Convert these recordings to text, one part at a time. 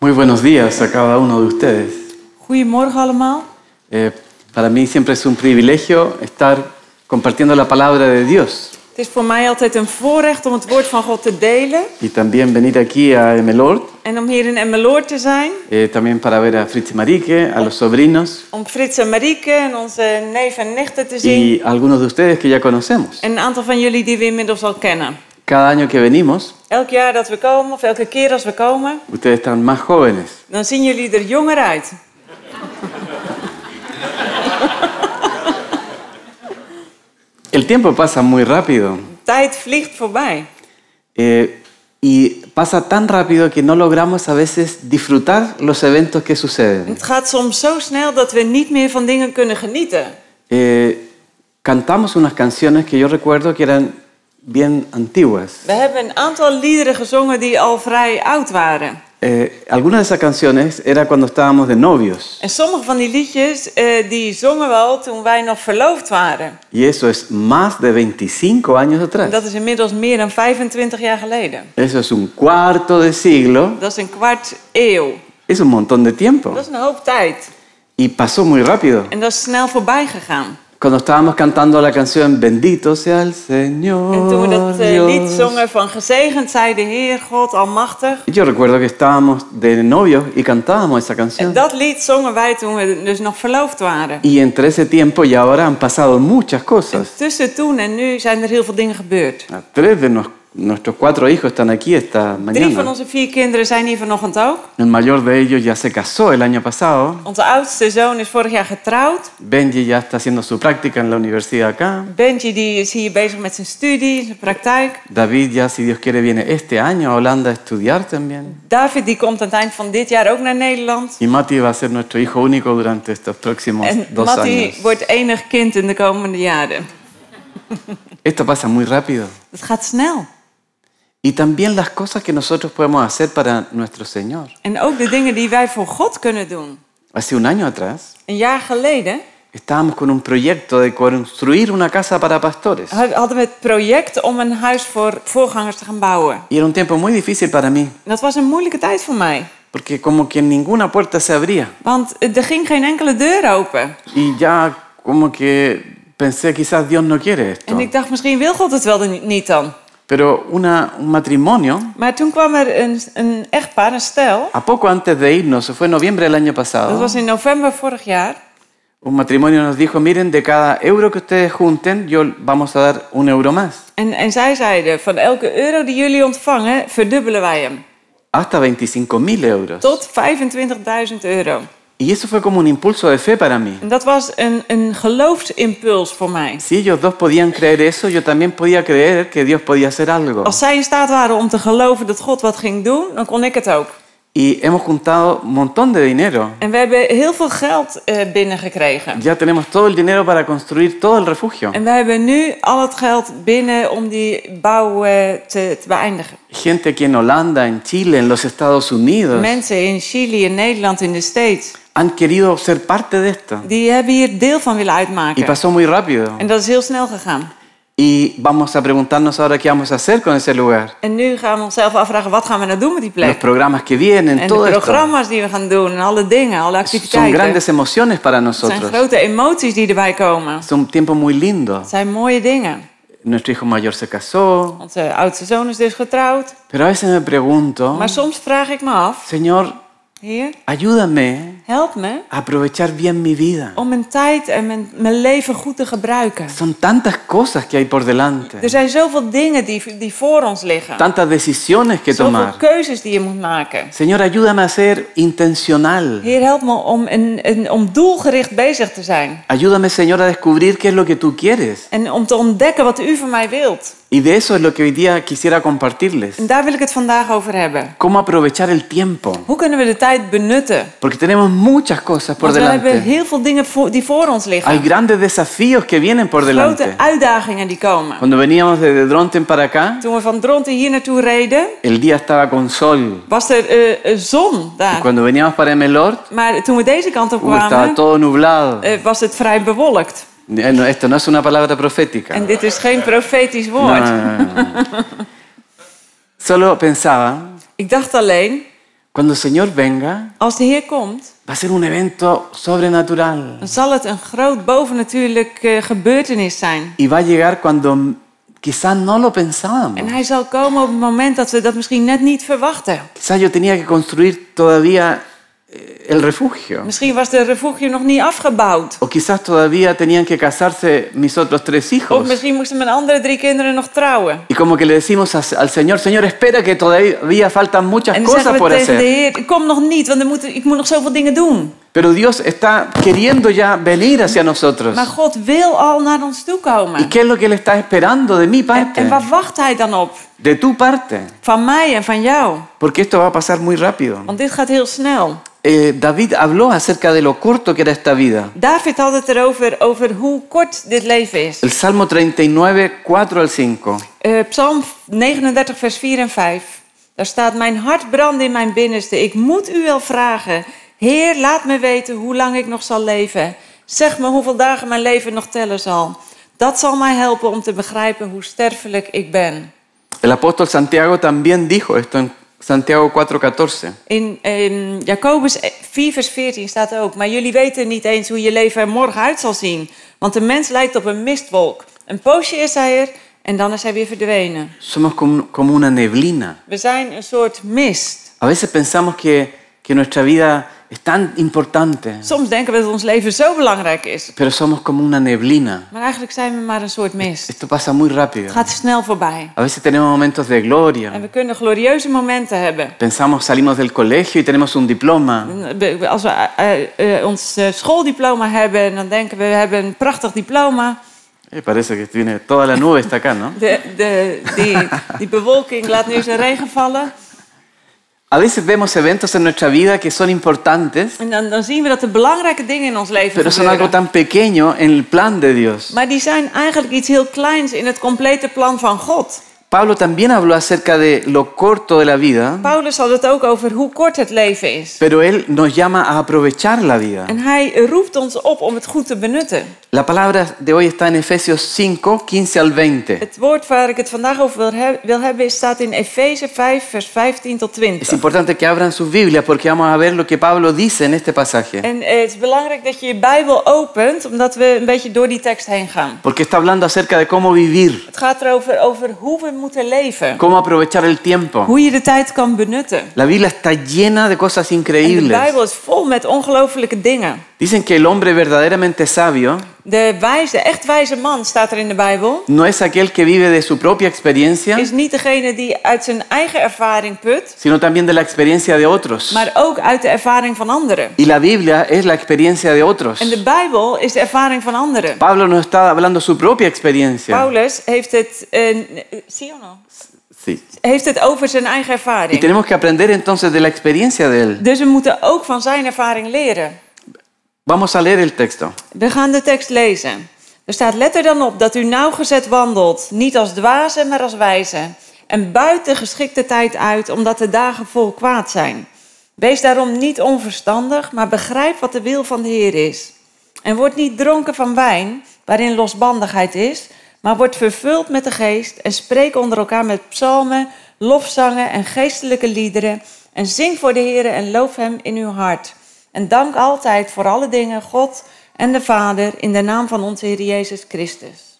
Muy buenos días a cada uno de ustedes. Goedemorgen allemaal. Eh, para mí siempre es un privilegio estar compartiendo la palabra de Dios Het is voor mij altijd een voorrecht om het woord van God te delen y también venir aquí a Emelord, en om hier in Emmeloord te zijn. eh, también para ver a Fritz y Marique, a los sobrinos Om Frits en Marieke en onze neef en nichten te zien. y a algunos de ustedes que ya conocemos. En een aantal van jullie die we inmiddels al kennen. Cada año que venimos, Elk jaar dat we komen, of elke keer als we komen, ustedes están más jóvenes. dan zien jullie er jonger uit. El tiempo pasa muy rápido Tijd vliegt voorbij. eh, y pasa tan rápido que no logramos a veces disfrutar los eventos que suceden. Het gaat soms zo snel dat we niet meer van dingen kunnen genieten. Eh, cantamos unas canciones que yo recuerdo que eran bien antiguas. We hebben een aantal liederen gezongen die al vrij oud waren. Eh, algunas de esas canciones era cuando estábamos de novios En sommige van die liedjes eh, die zongen we al toen wij nog verloofd waren. y eso es más de 25 años En atrás. Dat is inmiddels meer dan 25 jaar geleden. Eso es un cuarto de siglo, Dat is een kwart eeuw. es un montón de tiempo Dat is een hoop tijd. y pasó muy rápido. En dat is snel voorbij gegaan. Cuando estábamos cantando la canción Bendito sea el En toen we dat Señor. eh, lied Dios. zongen van gezegend zij de Heer, God Almachtig. Yo recuerdo que estábamos de novios y cantábamos esa En canción. dat lied zongen wij toen we dus nog verloofd waren. Y entre ese tiempo y ahora han pasado muchas cosas. Tussen toen en nu zijn er heel veel dingen gebeurd. A Tres de nos- nuestros cuatro hijos están aquí esta Drie van mañana. onze vier kinderen zijn hier vanochtend ook. El mayor de ellos ya se casó el año pasado. Onze oudste zoon is vorig jaar getrouwd. Benji ya está haciendo su práctica en la universidad acá. Benji die is hier bezig met zijn studie, zijn praktijk. David ya, si Dios quiere, viene este año a Holanda a estudiar también. David die komt aan het eind van dit jaar ook naar Nederland. Y Mati va a ser nuestro hijo único durante estos próximos En dos Matty años. wordt enig kind in de komende jaren. Esto pasa muy rápido. Het gaat snel. Y también las cosas que nosotros podemos hacer para nuestro Señor. En ook de dingen die wij voor God kunnen doen. Hace un año atrás Een jaar geleden estábamos con un proyecto de construir una casa para pastores. hadden we het project om een huis voor voorgangers te gaan bouwen. Y era un tiempo muy difícil para mí. En dat was een moeilijke tijd voor mij. porque como que ninguna puerta se abría Want er ging geen enkele deur open. y ya como que pensé quizás Dios no quiere esto. En ik dacht, misschien wil God het wel dan niet dan. Pero una, un matrimonio, Maar toen kwam er een, een echtpaar, een stel. a poco antes de irnos, fue en noviembre del año Dat pasado, was in november vorig jaar. un matrimonio nos dijo, miren, de cada euro que ustedes junten, yo vamos a dar un euro más, En, en zij zeiden, van elke euro die jullie ontvangen, verdubbelen wij hem. hasta 25 mil euros. Tot 25.000 euro. Y eso fue como un impulso de fe para mí. En dat was een, een geloofsimpuls voor mij. Si ellos dos podían creer eso, yo también podía creer que Dios podía hacer algo. Als zij in staat waren om te geloven dat God wat ging doen, dan kon ik het ook. Y hemos juntado un montón de dinero. En we hebben heel veel geld eh, binnengekregen. Ya tenemos todo el dinero para construir todo el refugio. En we hebben nu al het geld binnen om die bouw eh, te, te beëindigen. Gente aquí en Holanda, en Chile, en los Estados Unidos Mensen in Chili, in Nederland, in de States, han querido ser parte de esto. die hebben hier deel van willen Y uitmaken. pasó muy rápido. En dat is heel snel gegaan. Y vamos a preguntarnos ahora qué vamos a hacer con ese lugar. En nu gaan we onszelf afvragen, wat gaan we nou doen met die Los plek? programas que vienen, En de todo esto. programma's die we gaan doen, en alle dingen, alle Son activiteiten. grandes emociones para Het zijn nosotros. grote emoties die erbij komen. Es un tiempo muy lindo. Het zijn mooie dingen. Nuestro hijo mayor se casó. Onze oudste zoon is dus getrouwd. Pero a veces me pregunto, Maar soms vraag ik me af, Señor, Heer, ayúdame help me a aprovechar bien mi vida. om mijn tijd en mijn, mijn leven goed te gebruiken. Son tantas cosas que hay por delante. Er zijn zoveel dingen die, die voor ons liggen. Tantas decisiones que tomar. Zoveel keuzes die je moet maken. Señor, ayúdame a ser intencional. Heer, help me om, een, een, om doelgericht bezig te zijn. Ayúdame, Señor, a descubrir qué es lo que tú quieres. En om te ontdekken wat u van mij wilt. Y de eso es lo que hoy día quisiera compartirles. En daar wil ik het vandaag over hebben. Cómo aprovechar el tiempo. Hoe kunnen we de tijd benutten? Porque tenemos muchas cosas por Want we hebben delante. heel veel dingen voor, die voor ons liggen. Hay grandes desafíos que vienen por delante. Grote uitdagingen die komen. Cuando veníamos desde Dronten para acá, Toen we van Dronten hier naartoe reden, el día estaba con sol. was er eh, eh, zon Y daar. cuando veníamos para Emelord, Maar toen we deze kant op uh, estaba kwamen, todo nublado. eh, was het vrij bewolkt. Eh, no, Esto no es una palabra En profética. dit is geen profetisch No, woord. no, no, no. Solo pensaba, Ik dacht alleen, Cuando el Señor venga, Als de Heer komt, va a ser un evento sobrenatural. dan zal het een groot bovennatuurlijk eh, gebeurtenis zijn. Y va a llegar cuando quizás no lo En pensábamos. hij zal komen op het moment dat we dat misschien net niet verwachten. Quizás yo tenía que construir todavía eh, el refugio. Misschien was de refugio nog niet afgebouwd. O quizás todavía tenían que casarse mis otros tres Of hijos. misschien moesten mijn andere drie kinderen nog trouwen. Y como que le decimos a- al Señor, Señor, espera que todavía faltan muchas En dan cosas zeggen we por tegen de hacer. Heer, kom nog niet, want er moet, ik moet nog zoveel dingen doen. Pero Dios está queriendo ya venir hacia nosotros. Maar God wil al naar ons toe ¿Y komen. qué es lo que Él está esperando de mi En, parte? en waar wacht hij dan op? De tu parte. Van mij en van jou. Porque esto va a pasar muy rápido. Want dit gaat heel snel. Eh, David habló acerca de lo corto que era esta vida. David had het erover over hoe kort dit leven is. El Salmo 39, 4 al 5. Eh, Psalm 39, vers 4 en 5. Daar staat: Mijn hart brandt in mijn binnenste. Ik moet u wel vragen. Heer, laat me weten hoe lang ik nog zal leven. Zeg me hoeveel dagen mijn leven nog tellen zal. Dat zal mij helpen om te begrijpen hoe sterfelijk ik ben. El apóstol Santiago también dijo esto en Santiago 4:14. In, in Jacobus 4, vers 14 staat ook: Maar jullie weten niet eens hoe je leven er morgen uit zal zien. Want de mens lijkt op een mistwolk. Een poosje is hij er en dan is hij weer verdwenen. Somos como, como una neblina. We zijn een soort mist. A veces pensamos que, que nuestra vida es tan importante, Soms denken we dat ons leven zo belangrijk is. pero somos como una neblina. Maar eigenlijk zijn we maar een soort mist. Esto pasa muy rápido. Het gaat snel voorbij. A veces tenemos momentos de En gloria. we kunnen glorieuze momenten hebben. Pensamos, salimos del colegio y tenemos un diploma. We- we- Als we eh, eh, ons eh, schooldiploma hebben, dan denken we, we hebben een prachtig diploma. Eh, parece que tiene toda la nube está acá, ¿no? De, de, die, die bewolking laat nu zijn regen vallen. A veces vemos eventos en nuestra vida que son importantes, En dan, dan zien we dat de belangrijke dingen in ons leven pero son algo gebeuren. tan pequeño en el plan de Dios. Maar die zijn eigenlijk iets heel kleins in het complete plan van God. Pablo también habló acerca de lo corto de la vida, Paulus had het ook over hoe kort het leven is. pero él nos llama a aprovechar la vida. En hij roept ons op om het goed te benutten. La palabra de hoy está en Efesios 5, 15 al 20. Het woord waar ik het vandaag over wil, he- wil hebben is- staat in Efeze 5, vers 15 tot Es 20. importante que abran sus Biblias porque vamos a ver lo que Pablo dice en este pasaje. En eh, het is belangrijk dat je je Bijbel opent, omdat we een beetje door die tekst heen gaan. Porque está hablando acerca de cómo vivir, Het gaat erover over hoe we moeten leven. cómo aprovechar el tiempo. Hoe je de tijd kan benutten. La Biblia está llena de cosas En de increíbles. Bijbel is vol met ongelofelijke dingen. Dicen que el hombre verdaderamente sabio De wijze, echt wijze man staat er in de Bijbel. no es aquel que vive de su propia experiencia, Is niet degene die uit zijn eigen ervaring put, sino también de la experiencia de otros. maar ook uit de ervaring van anderen. Y la Biblia es la experiencia de otros. En de Bijbel is de ervaring van anderen. Pablo nos está hablando su propia experiencia. Paulus heeft het, eh, zie je nog? Sí. heeft het over zijn eigen Y ervaring. tenemos que aprender entonces de la experiencia de él. Dus we moeten ook van zijn ervaring leren. Vamos a leer el texto. We gaan de tekst lezen. Er staat: Let er dan op dat u nauwgezet wandelt, niet als dwazen, maar als wijzen. En buit de geschikte tijd uit, omdat de dagen vol kwaad zijn. Wees daarom niet onverstandig, maar begrijp wat de wil van de Heer is. En word niet dronken van wijn, waarin losbandigheid is, maar word vervuld met de geest en spreek onder elkaar met psalmen, lofzangen en geestelijke liederen. En zing voor de Heer en loof Hem in uw hart. En dank altijd voor alle dingen God en de Vader in de naam van onze Heer Jezus Christus.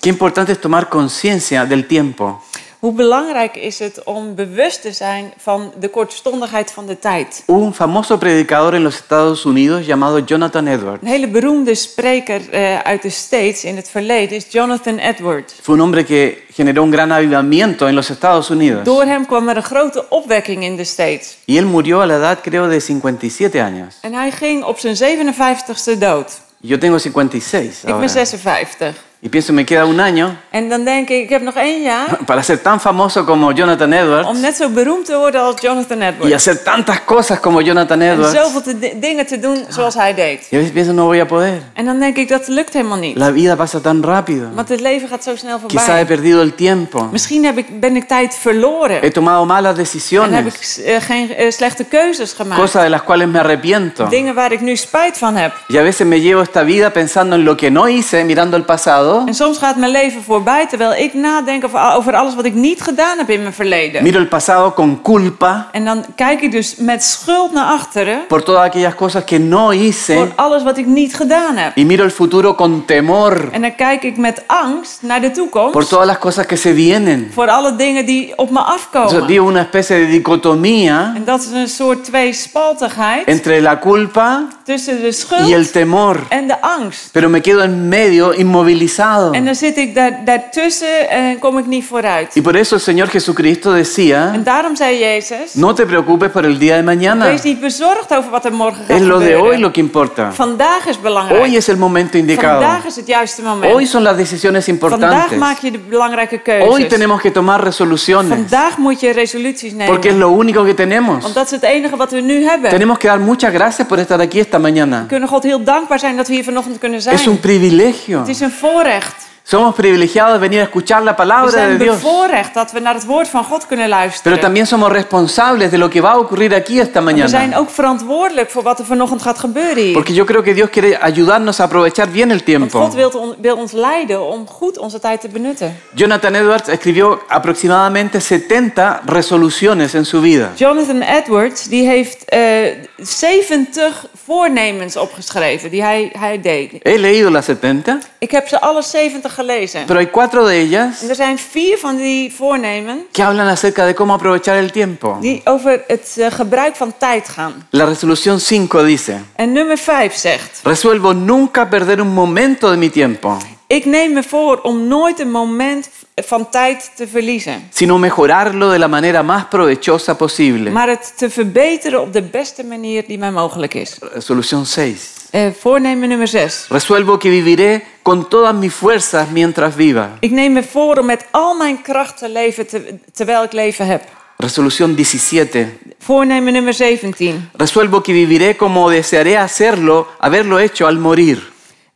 Qué importante es tomar conciencia del tiempo. Hoe belangrijk is het om bewust te zijn van de kortstondigheid van de tijd? Hubo un famoso predicador en los Estados Unidos llamado Jonathan Edwards. Een hele beroemde spreker eh, uit de States in het verleden is Jonathan Edwards. Fue un hombre que generó un gran avivamiento en los Estados Unidos. Door hem kwam er een grote opwekking in de States. Y él murió a la edad, creo, de 57 años. En hij ging op zijn 57ste dood. Yo tengo 56 Ik ahora. ben 56. Y pienso, me queda un año En dan denk ik, ik heb nog één jaar para ser tan famoso como Jonathan Edwards. om net zo beroemd te worden als Jonathan y Edwards. hacer tantas cosas como Jonathan En Edwards. zoveel te di- dingen te doen zoals hij deed. Y a veces pienso, no voy a poder. En dan denk ik, dat lukt helemaal niet. La vida pasa tan rápido. Want het leven gaat zo snel Quizá he voorbij. perdido el tiempo. Misschien heb ik, ben ik tijd verloren. He tomado malas En heb decisiones. ik eh, geen eh, slechte keuzes gemaakt. Cosas de las cuales me arrepiento. Dingen waar ik nu spijt van heb. Y a veces me llevo esta vida pensando en lo que no hice, mirando el pasado, En soms gaat mijn leven voorbij terwijl ik nadenk over, over alles wat ik niet gedaan heb in mijn verleden. miro el pasado con culpa En dan kijk ik dus met schuld naar achteren por todas aquellas cosas que no voor hice alles wat ik niet gedaan heb. y miro el futuro con temor En dan kijk ik met angst naar de por toekomst todas las cosas que se vienen. voor alle dingen Dus die op me Entonces, afkomen. vivo una especie de dicotomía Oh, En dat is een soort tweespaltigheid entre la culpa tussen de y el schuld temor, en de angst. pero me quedo en medio inmovilizado. En dan zit ik daar, daartussen en kom ik niet vooruit. Y por eso el Señor Jesucristo decía, En daarom zei Jezus, no te preocupes por el día de mañana, wees niet bezorgd over wat er morgen gaat es lo de hoy gebeuren. lo que importa. Vandaag is Hoy belangrijk. es el momento indicado. Vandaag is het juiste Hoy moment. son las decisiones Vandaag importantes. maak je de belangrijke Hoy keuzes. tenemos que tomar resoluciones, Vandaag moet je resoluties nemen. porque es lo único que tenemos. Want dat is het enige wat we nu hebben. We Tenemos que dar muchas gracias por estar aquí esta mañana. kunnen God heel dankbaar zijn dat we hier vanochtend kunnen zijn. Es un privilegio. Het is een voorrecht. Somos privilegiados de venir a escuchar la We palabra de zijn Dios, bevoorrecht dat we naar het woord van God kunnen pero luisteren. también somos responsables de lo que va a ocurrir aquí esta We zijn mañana, ook verantwoordelijk voor wat er vanochtend gaat gebeuren hier. porque yo creo que Dios quiere ayudarnos a aprovechar bien el Want tiempo. God wil, on- wil ons leiden om goed onze tijd te benutten. Jonathan Edwards escribió aproximadamente 70 resoluciones en su vida. Jonathan Edwards die heeft eh 70 voornemens opgeschreven die hij, hij deed. He leído las 70, Ik heb ze alle 70 gelezen. pero hay cuatro de ellas En er zijn vier van die voornemen que hablan acerca de cómo aprovechar el tiempo. die over het eh, gebruik van tijd gaan. La resolución 5 dice, En nummer 5 zegt: resuelvo nunca perder un momento de mi tiempo, Ik neem me voor om nooit een moment van tijd te verliezen, sino mejorarlo de la manera más provechosa posible. maar het te verbeteren op de beste manier die mij mogelijk is. Resolución 6. Eh, voornemen nummer 6. Resuelvo que viviré con todas mis fuerzas mientras viva. Ik neem me voor om met al mijn kracht te leven te- terwijl ik leven heb. Resolución 17. Voornemen nummer 17. Resuelvo que viviré como desearé hacerlo, haberlo hecho al morir.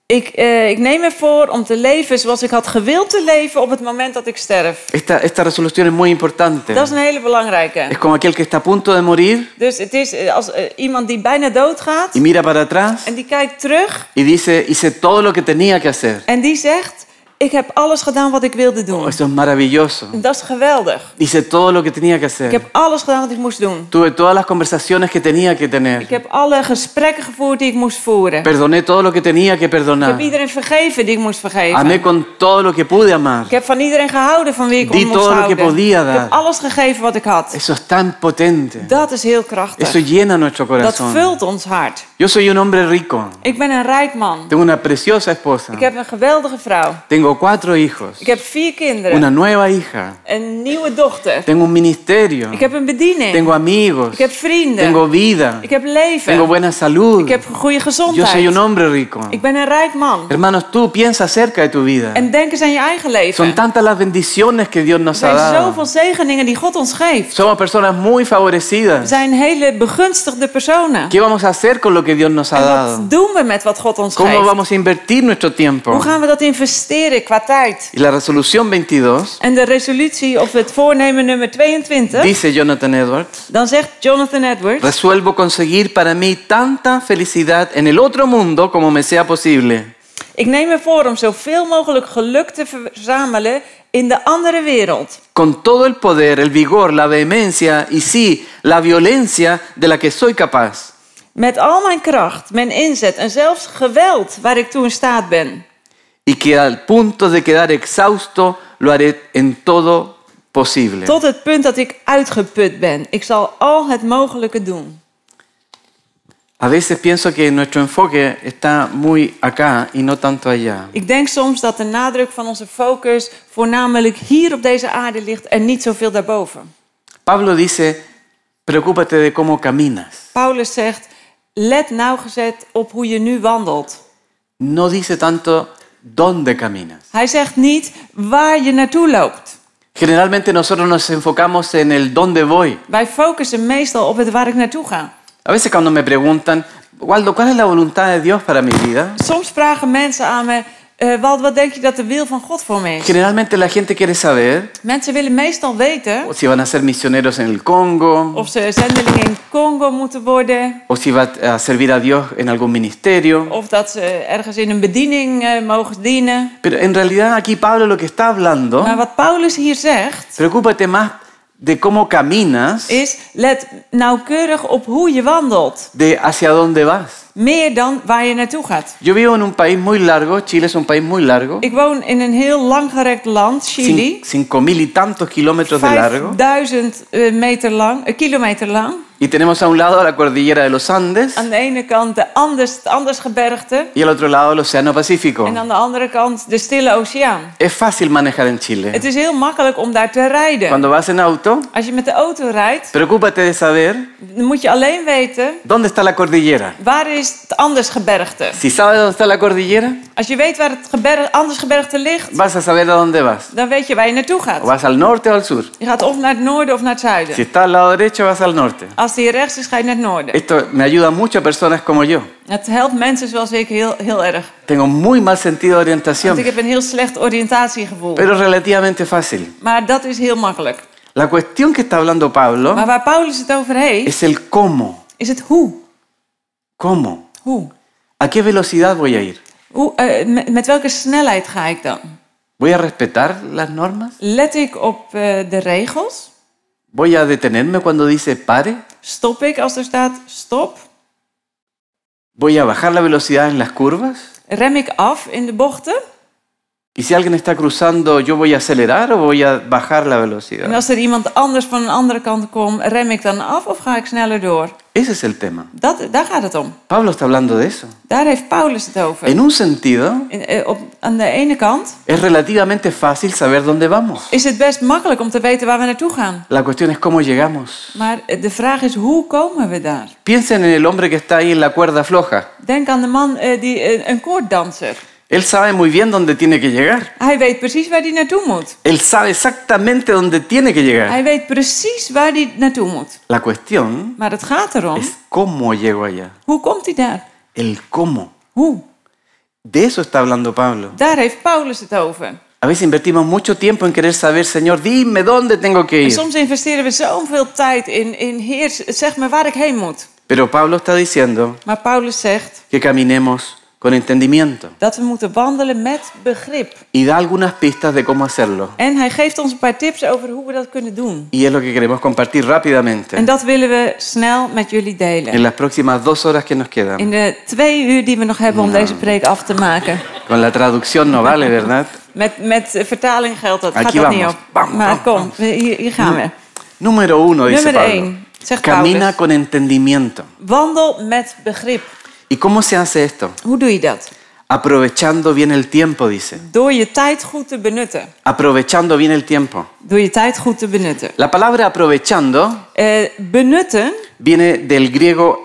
Ik, eh, ik neem me voor om te leven zoals ik had gewild te leven op het moment dat ik sterf. Esta, esta resolución es muy importante. Dat is een hele Es belangrijke. como aquel que está a punto de morir Dus het is eh, als eh, iemand die bijna doodgaat y mira para atrás en die kijkt terug y dice, hice todo lo que tenía que hacer. en die zegt: Ik heb alles gedaan wat ik wilde Oh, doen. Eso es maravilloso. En Dat is geweldig. Hice todo lo que tenía que Ik hacer. heb alles gedaan wat ik moest doen. Tuve todas las conversaciones que tenía que Ik tener. heb alle gesprekken gevoerd die ik moest voeren. Ik Perdoné todo lo que tenía que perdonar. heb iedereen vergeven die ik moest vergeven. Amé con todo lo que pude amar. Ik heb van iedereen gehouden van wie ik Die om moest todo lo que houden. podía Ik dar. heb alles gegeven wat ik had. Eso es tan potente. Dat is heel krachtig. Eso llena nuestro Dat corazón. vult ons hart. Yo soy un hombre rico. Ik ben een rijk man. Tengo una preciosa esposa. Ik heb een geweldige vrouw. Tengo cuatro hijos. Ik heb vier kinderen. Una nueva hija. Een nieuwe dochter. Tengo un ministerio. Ik heb een bediening. Tengo amigos. Ik heb vrienden. Tengo vida. Ik heb Tengo leven. buena salud. Ik heb goede Yo soy un gezondheid. hombre rico. Ik ben een rijk man. Hermanos, tú piensa acerca de tu vida. En denk eens aan je eigen Son leven. tantas las bendiciones que Dios Er nos ha zijn dado. zoveel zegeningen die God ons geeft. Somos personas muy We favorecidas. zijn hele begunstigde personen. ¿Qué vamos a hacer con lo que Dios nos ha En dado? wat doen we met wat God ons ¿Cómo geeft? vamos a invertir nuestro tiempo? Hoe gaan we dat investeren qua tijd? Y la resolución 22 En de resolutie of het voornemen nummer 22, dice Jonathan Edwards. dan zegt Jonathan Edwards... Resuelvo conseguir para mí tanta felicidad en el otro mundo como me sea posible, Ik neem me voor om zoveel mogelijk geluk te verzamelen in de andere wereld. con todo el poder, el vigor, la vehemencia y sí, la violencia de la que soy capaz. Met al mijn kracht, mijn inzet en zelfs geweld waar ik toe in staat ben. Y que al punto de quedar exhausto lo haré en todo posible. Tot het punt dat ik uitgeput ben. Ik zal al het mogelijke doen. A veces pienso que nuestro enfoque está muy acá y no tanto allá. Ik denk soms dat de nadruk van onze focus voornamelijk hier op deze aarde ligt en niet zoveel daarboven. Pablo dice, preocúpate de cómo caminas. Paulus zegt: let nauwgezet op hoe je nu wandelt. No dice tanto dónde caminas. Hij zegt niet waar je naartoe loopt. Generalmente nosotros nos enfocamos en el dónde voy. Wij focussen meestal op het waar ik naartoe ga. A veces cuando me preguntan, Waldo, ¿cuál es la voluntad de Dios para mi vida? Soms vragen mensen aan me: eh, eh, Walt, wat denk je dat de wil van God voor me is? Generalmente la gente quiere saber Mensen willen meestal weten si van a ser misioneros en el Congo, of ze zendelingen in Congo moeten worden. o si va a servir a Dios en algún ministerio. Of dat ze ergens in een bediening eh, mogen dienen. Pero en realidad aquí Pablo lo que está hablando, Maar wat Paulus hier zegt preocúpate más de cómo caminas, is: let nauwkeurig op hoe je wandelt. de hacia dónde vas. Meer dan waar je naartoe gaat. Yo vivo en un país muy largo, Chile es un país muy largo, Ik woon in een heel langgerekt land, Chili. cin- cinco mil y tantos kilómetros de largo, 5000 eh, meter lang, eh, kilometer lang. y tenemos a un lado la cordillera de los Andes Aan de ene kant de Andes, het Andesgebergte. y al otro lado el Océano Pacífico. En aan de andere kant de Stille Oceaan. Es fácil manejar en Het Chile. is heel makkelijk om daar te rijden. Cuando vas en auto, Als je met de auto rijdt, preocúpate de saber dan moet je alleen weten dónde está la cordillera. waar is het Andesgebergte. Si sabes dónde está la cordillera, Als je weet waar het geber- Andesgebergte ligt, vas a saber a dónde vas. dan weet je waar je naartoe O gaat. vas al norte o al sur. Je gaat of naar het noorden of naar het Si zuiden. está al lado derecho, vas al norte. Als die rechts is, ga je naar het noorden. Esto me ayuda mucho a personas como yo. Het helpt mensen zoals ik heel, heel erg. Tengo muy mal sentido de Want orientación, ik heb een heel slecht oriëntatiegevoel. pero relativamente fácil. Maar dat is heel makkelijk. La cuestión que está hablando Pablo Maar waar Paulus het over heeft, es el cómo. is het hoe. ¿Cómo? Hoe? ¿A qué velocidad voy a ir? hoe eh, met, met welke snelheid ga ik dan? ¿Voy a respetar las normas? Let ik op eh, de regels? ¿Voy a detenerme cuando dice pare? Stop ik als er staat stop? ¿Voy a bajar la velocidad en las curvas? Rem ik af in de bochten? Y si alguien está cruzando, ¿yo voy a acelerar o voy a bajar la En velocidad? als er iemand anders van een andere kant komt, rem ik dan af of ga ik sneller door? Ese es el tema. Dat, daar gaat het om. Pablo está hablando de eso. Daar heeft Paulus het over. En un sentido, In- eh, op, aan de ene kant es relativamente fácil saber dónde vamos. is het best makkelijk om te weten waar we naartoe gaan. La cuestión es cómo llegamos. Maar eh, de vraag is, hoe komen we daar? Piensen en el hombre que está ahí en la cuerda floja. Denk aan de man, eh, die, eh, een koorddanser. Él sabe muy bien dónde tiene que llegar. Hij weet precies waar hij naartoe moet. Él sabe exactamente dónde tiene que llegar. Hij weet precies waar hij naartoe moet. La cuestión Maar het gaat erom, es cómo llego allá. hoe komt hij daar? El cómo. Hoe? De eso está hablando Pablo. Daar heeft Paulus het over. A veces invertimos mucho tiempo en querer saber, Señor, dime dónde tengo que En ir. soms investeren we zoveel tijd in, in Heer, zeg me waar ik heen moet. Pero Pablo está diciendo Maar Paulus zegt que caminemos con entendimiento dat we moeten wandelen met begrip. y da algunas pistas de cómo hacerlo. En hij geeft ons een paar tips over hoe we dat kunnen doen. Y es lo que queremos compartir rápidamente. En dat willen we snel met jullie delen. en las próximas dos horas que nos quedan. In de twee uur die we nog hebben om deze preek af te maken. Con la traducción no vale, ¿verdad? Met, met eh, vertaling geldt dat. Gaat Aquí dat niet vamos. op. Bam, Maar bam, bam. kom, we- hier, hier gaan we. Número uno, dice Número Pablo. uno, zegt Camina Paulus. con entendimiento. Wandel met begrip. ¿Y cómo se hace esto? Hoe doe je dat? Aprovechando bien el tiempo, dice. Door je tijd goed te benutten. Aprovechando bien el tiempo. Door je tijd goed te benutten. La palabra aprovechando Eh, benutten viene del griego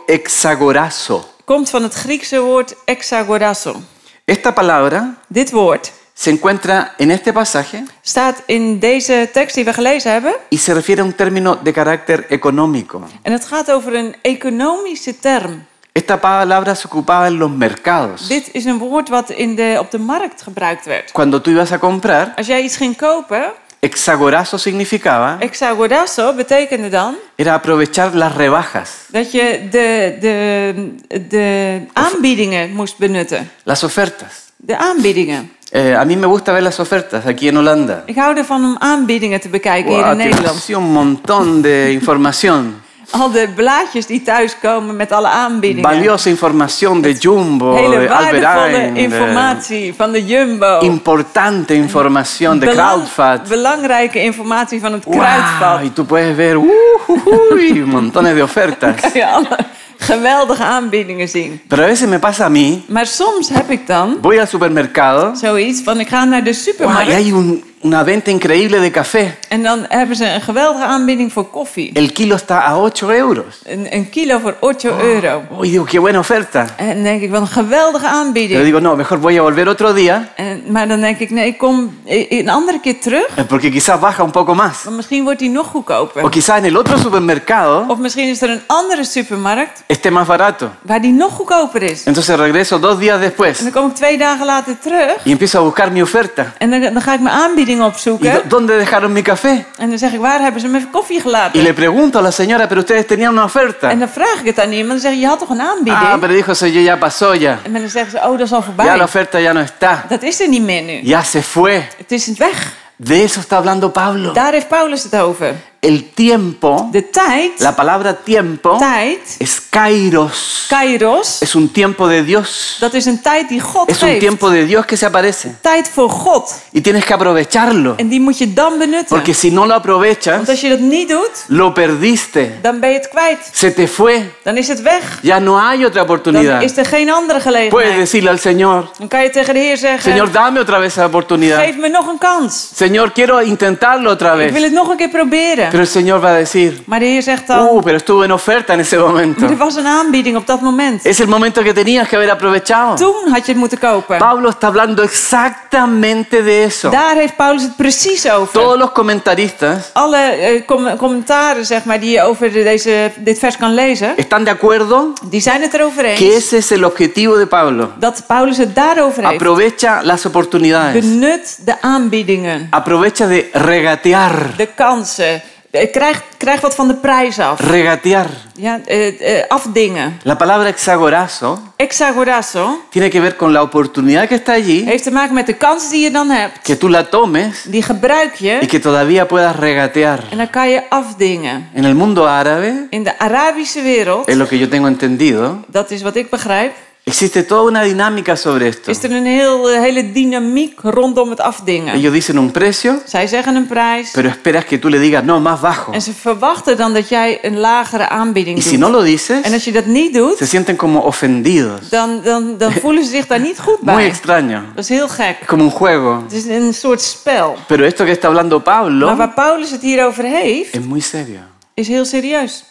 hexagorazo. komt van het Griekse woord exagorazo. Esta palabra Dit woord se encuentra en este pasaje staat in deze tekst die we gelezen hebben. y se refiere a un término de carácter económico. En het gaat over een economische term. Esta palabra se ocupaba en los mercados. Dit is een woord wat in de, op de markt gebruikt werd. Cuando tú ibas a comprar, Als jij iets ging kopen, hexagorazo significaba exagorazo betekende dan era aprovechar las rebajas, dat je de, de, de aanbiedingen moest benutten. las ofertas. De aanbiedingen. Eh, a mí me gusta ver las ofertas aquí en Holanda. Ik hou ervan om aanbiedingen te bekijken hier Guau, in te Nederland. ofreció un montón de información, Al de blaadjes die thuiskomen met alle aanbiedingen. valiosa información de Jumbo, Hele de waardevolle eh, Albert Heijn, de- informatie van de Jumbo. importante información de Belang- Crowdfat. Belangrijke informatie van het Guau, kruidvat. y tú puedes ver ujujuy, montones de ofertas. Kan je alle geweldige aanbiedingen zien. Pero a veces me pasa a mí, Maar soms heb ik dan voy al supermercado zoiets van ik ga naar de guau, y supermarkt. hay un, una venta increíble de café. En dan hebben ze een geweldige aanbieding voor koffie. El kilo está a 8 euros. Een, een kilo voor 8 euro. Oh, y digo, qué buena oferta. En dan denk ik, wat een geweldige Pero aanbieding. digo, no, mejor voy a volver otro día En, maar dan denk ik, nee, ik kom i- i- een andere keer terug. eh, porque quizás baja un poco más. Maar misschien wordt die nog O goedkoper. quizás en el otro supermercado Of misschien is er een andere supermarkt esté más barato. waar die nog goedkoper is. En Entonces regreso dos días después dan kom ik twee dagen later terug. y empiezo a buscar mi oferta. En dan, dan ga ik mijn aanbieding ¿Y opzoeken. dó- dónde dejaron mi café? En dan zeg ik, waar hebben ze mijn koffie Y gelaten? le pregunto a la señora, pero ustedes tenían una En oferta. dan vraag ik het aan iemand. Dan zeg je, je had toch een Ah, aanbieding? pero dijo, eso ya- ya pasó ya. En dan zeggen ze, oh, dat is al Ya la voorbij. oferta ya no está. Dat is er niet meer nu. Ya se fue. Het is weg. De eso está hablando Pablo. Daar heeft Paulus het over. El tiempo, De tijd, la palabra tiempo tijd, es kairos. kairos, Es un tiempo de Dios. dat is een tijd die God Es un geeft. tiempo de Dios que se aparece. Tijd voor God. Y tienes que aprovecharlo. En die moet je dan benutten. Porque si no lo Want aprovechas, als je dat niet doet, lo perdiste. dan ben je het kwijt. Se te fue. Dan is het weg. Ya no hay otra Dan oportunidad. is er geen andere Puedes gelegenheid. decirle al Señor, Dan kan je tegen de Heer zeggen, Señor, dame otra vez esa oportunidad. geef me nog een kans. Señor, quiero intentarlo otra Ik wil vez. het nog een keer proberen. Pero el Señor va a decir, Maar de Heer zegt dan, uh, pero estuvo en oferta en ese momento. maar er was een aanbieding op dat moment. Es el momento que tenías que haber aprovechado. Toen had je het moeten kopen. Pablo está hablando exactamente de eso. Daar heeft Paulus het precies over. Todos los comentaristas Alle eh, com- commentaren zeg maar, die je over de- deze, dit vers kan lezen, están de acuerdo die zijn het erover que eens ese es el objetivo de Pablo. dat Paulus het daarover heeft. Aprovecha las oportunidades. Benut de aanbiedingen, Aprovecha de regatear. de kansen. Eh, Krijg, krijg wat van de prijs af. Regatear. Ja, eh, eh, afdingen. La palabra hexagorazo Exagorazo tiene que ver con la oportunidad que está allí, heeft te maken met de kans die je dan hebt. que tú la tomes Die gebruik y je que todavía puedas regatear. en dan kan je afdingen. En el mundo árabe, In de Arabische wereld, es lo que yo tengo entendido, dat is wat ik begrijp, existe toda una dinámica sobre esto. is er een heel, eh, hele dynamiek rondom het afdingen. Ellos dicen un precio, Zij zeggen een prijs pero esperas que tú le digas, no, más bajo. en ze verwachten dan dat jij een lagere aanbieding Y doet. si no lo En dices, als je dat niet se doet, sienten como ofendidos. dan, dan, dan voelen ze zich daar niet goed Muy bij. extraño. Dat is heel gek. Es como un juego. Het is een soort spel. Pero esto que está hablando Maar Pablo waar Paulus het hier over heeft, es muy serio. is heel serieus.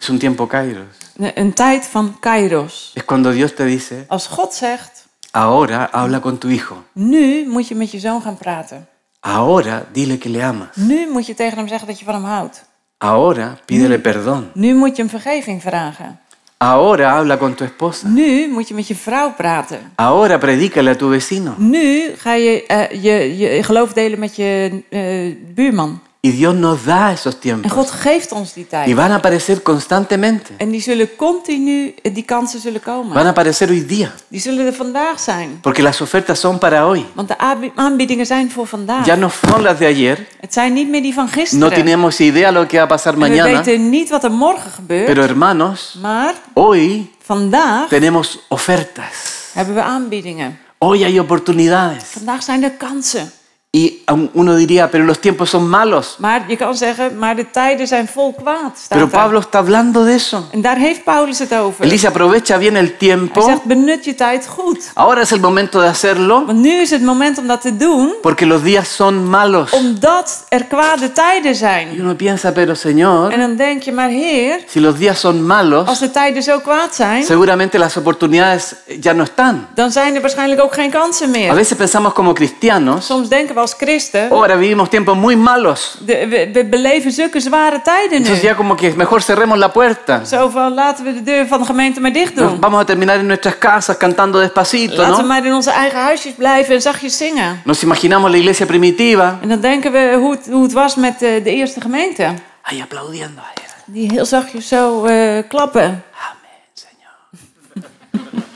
Es un tiempo kairos. Een een tijd van kairos. Es cuando Dios te dice, Als God zegt, ahora habla con tu hijo. nu moet je met je zoon gaan praten. Ahora dile que le amas. Nu moet je tegen hem zeggen dat je van hem houdt. Ahora pídele perdón. Nu moet je hem vergeving vragen. Ahora habla con tu esposa. Nu moet je met je vrouw praten. Ahora predícale a tu vecino. Nu ga je eh, je, je geloof delen met je eh, buurman. Y Dios nos da esos En tiempos. God geeft ons die Y tijd. van a aparecer constantemente. En die zullen continu, eh, die kansen zullen komen. Van a aparecer hoy día. Die zullen er vandaag zijn. Porque las ofertas son para hoy. Want de aanbi- aanbiedingen zijn voor vandaag. Ya no son las de ayer. Het zijn niet meer die van No gisteren. tenemos idea lo que va a pasar En we mañana. weten niet wat er morgen Pero gebeurt. hermanos, Maar hoy vandaag tenemos ofertas. hebben we aanbiedingen. Hoy hay oportunidades. Vandaag zijn er kansen. Y aún uno diría, pero los tiempos son malos. Maar je kan zeggen, maar de tijden zijn vol kwaad. staat Pero er. Pablo está hablando de eso. En daar heeft Paulus het over. Él dice, aprovecha bien el Hij tiempo. zegt, benut je tijd goed. Ahora es el momento de hacerlo Want nu is het moment om dat te doen, porque los días son malos. omdat er kwade tijden zijn. Y uno piensa, pero Señor, En Oh, dan denk je, maar heer, si los días son malos, als de tijden zo kwaad zijn, seguramente las oportunidades ya no están. dan zijn er waarschijnlijk ook geen kansen A meer. veces pensamos como cristianos, Soms denken we als christen, ahora vivimos tiempos muy malos, de- we, we beleven zulke zware tijden entonces nu. ya como que mejor cerremos la puerta. Zo van, laten we de deur van de gemeente maar dicht Nos doen. vamos a terminar en nuestras casas cantando despacito, Laten we ¿no? maar in onze eigen huisjes blijven en zachtjes zingen. Nos imaginamos la iglesia primitiva, En dan denken we hoe het, hoe het was met eh, de, de eerste gemeente. ahí aplaudiendo a él. Die heel zachtjes zo eh, klappen. Amén, Señor.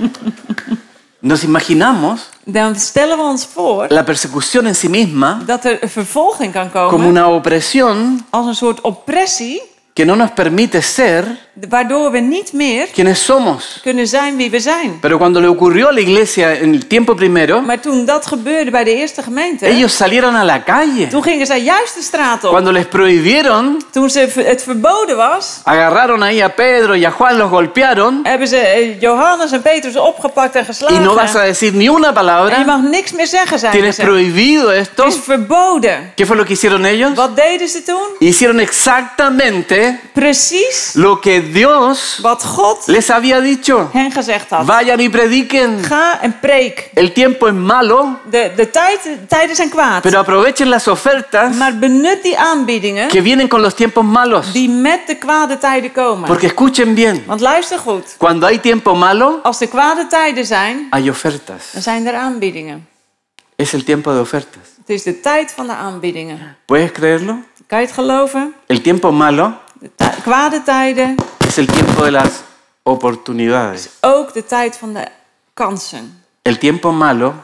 Nos imaginamos Dan stellen we ons voor la persecución en sí misma dat er vervolging kan como komen una opresión als een soort oppressie que no nos permite ser waardoor we niet meer quienes somos. kunnen zijn wie we zijn. Pero cuando le ocurrió a la iglesia en el tiempo primero, Maar toen dat gebeurde bij de eerste gemeente, ellos salieron a la calle. toen gingen zij juist de straat op. Cuando les prohibieron, Toen ze v- het verboden was, agarraron ahí a Pedro y a Juan, los golpearon hebben ze eh, Johannes en Petrus opgepakt en y geslagen. no vas a decir ni una En je palabra. mag niks meer zeggen, zeiden Tienes ze. prohibido esto. Het is verboden. ¿Qué fue lo que hicieron ellos? Wat deden ze toen? Hicieron exactamente Precies lo que Dios wat God les había dicho. hen gezegd had. Vayan y prediquen. Ga en preek. El tiempo es malo, De, de, tijd, de tijden zijn kwaad. pero aprovechen las ofertas Maar benut die aanbiedingen que vienen con los tiempos malos. die met de kwade tijden komen. Porque escuchen bien, Want luister goed. cuando hay tiempo malo, Als er kwade tijden zijn, hay ofertas. dan zijn er aanbiedingen. Es el tiempo de ofertas. Het is de tijd van de aanbiedingen. ¿Puedes creerlo? Kan je het geloven? El tiempo malo De ti- kwade tijden es el tiempo de las oportunidades. ook de tijd van de kansen. El tiempo malo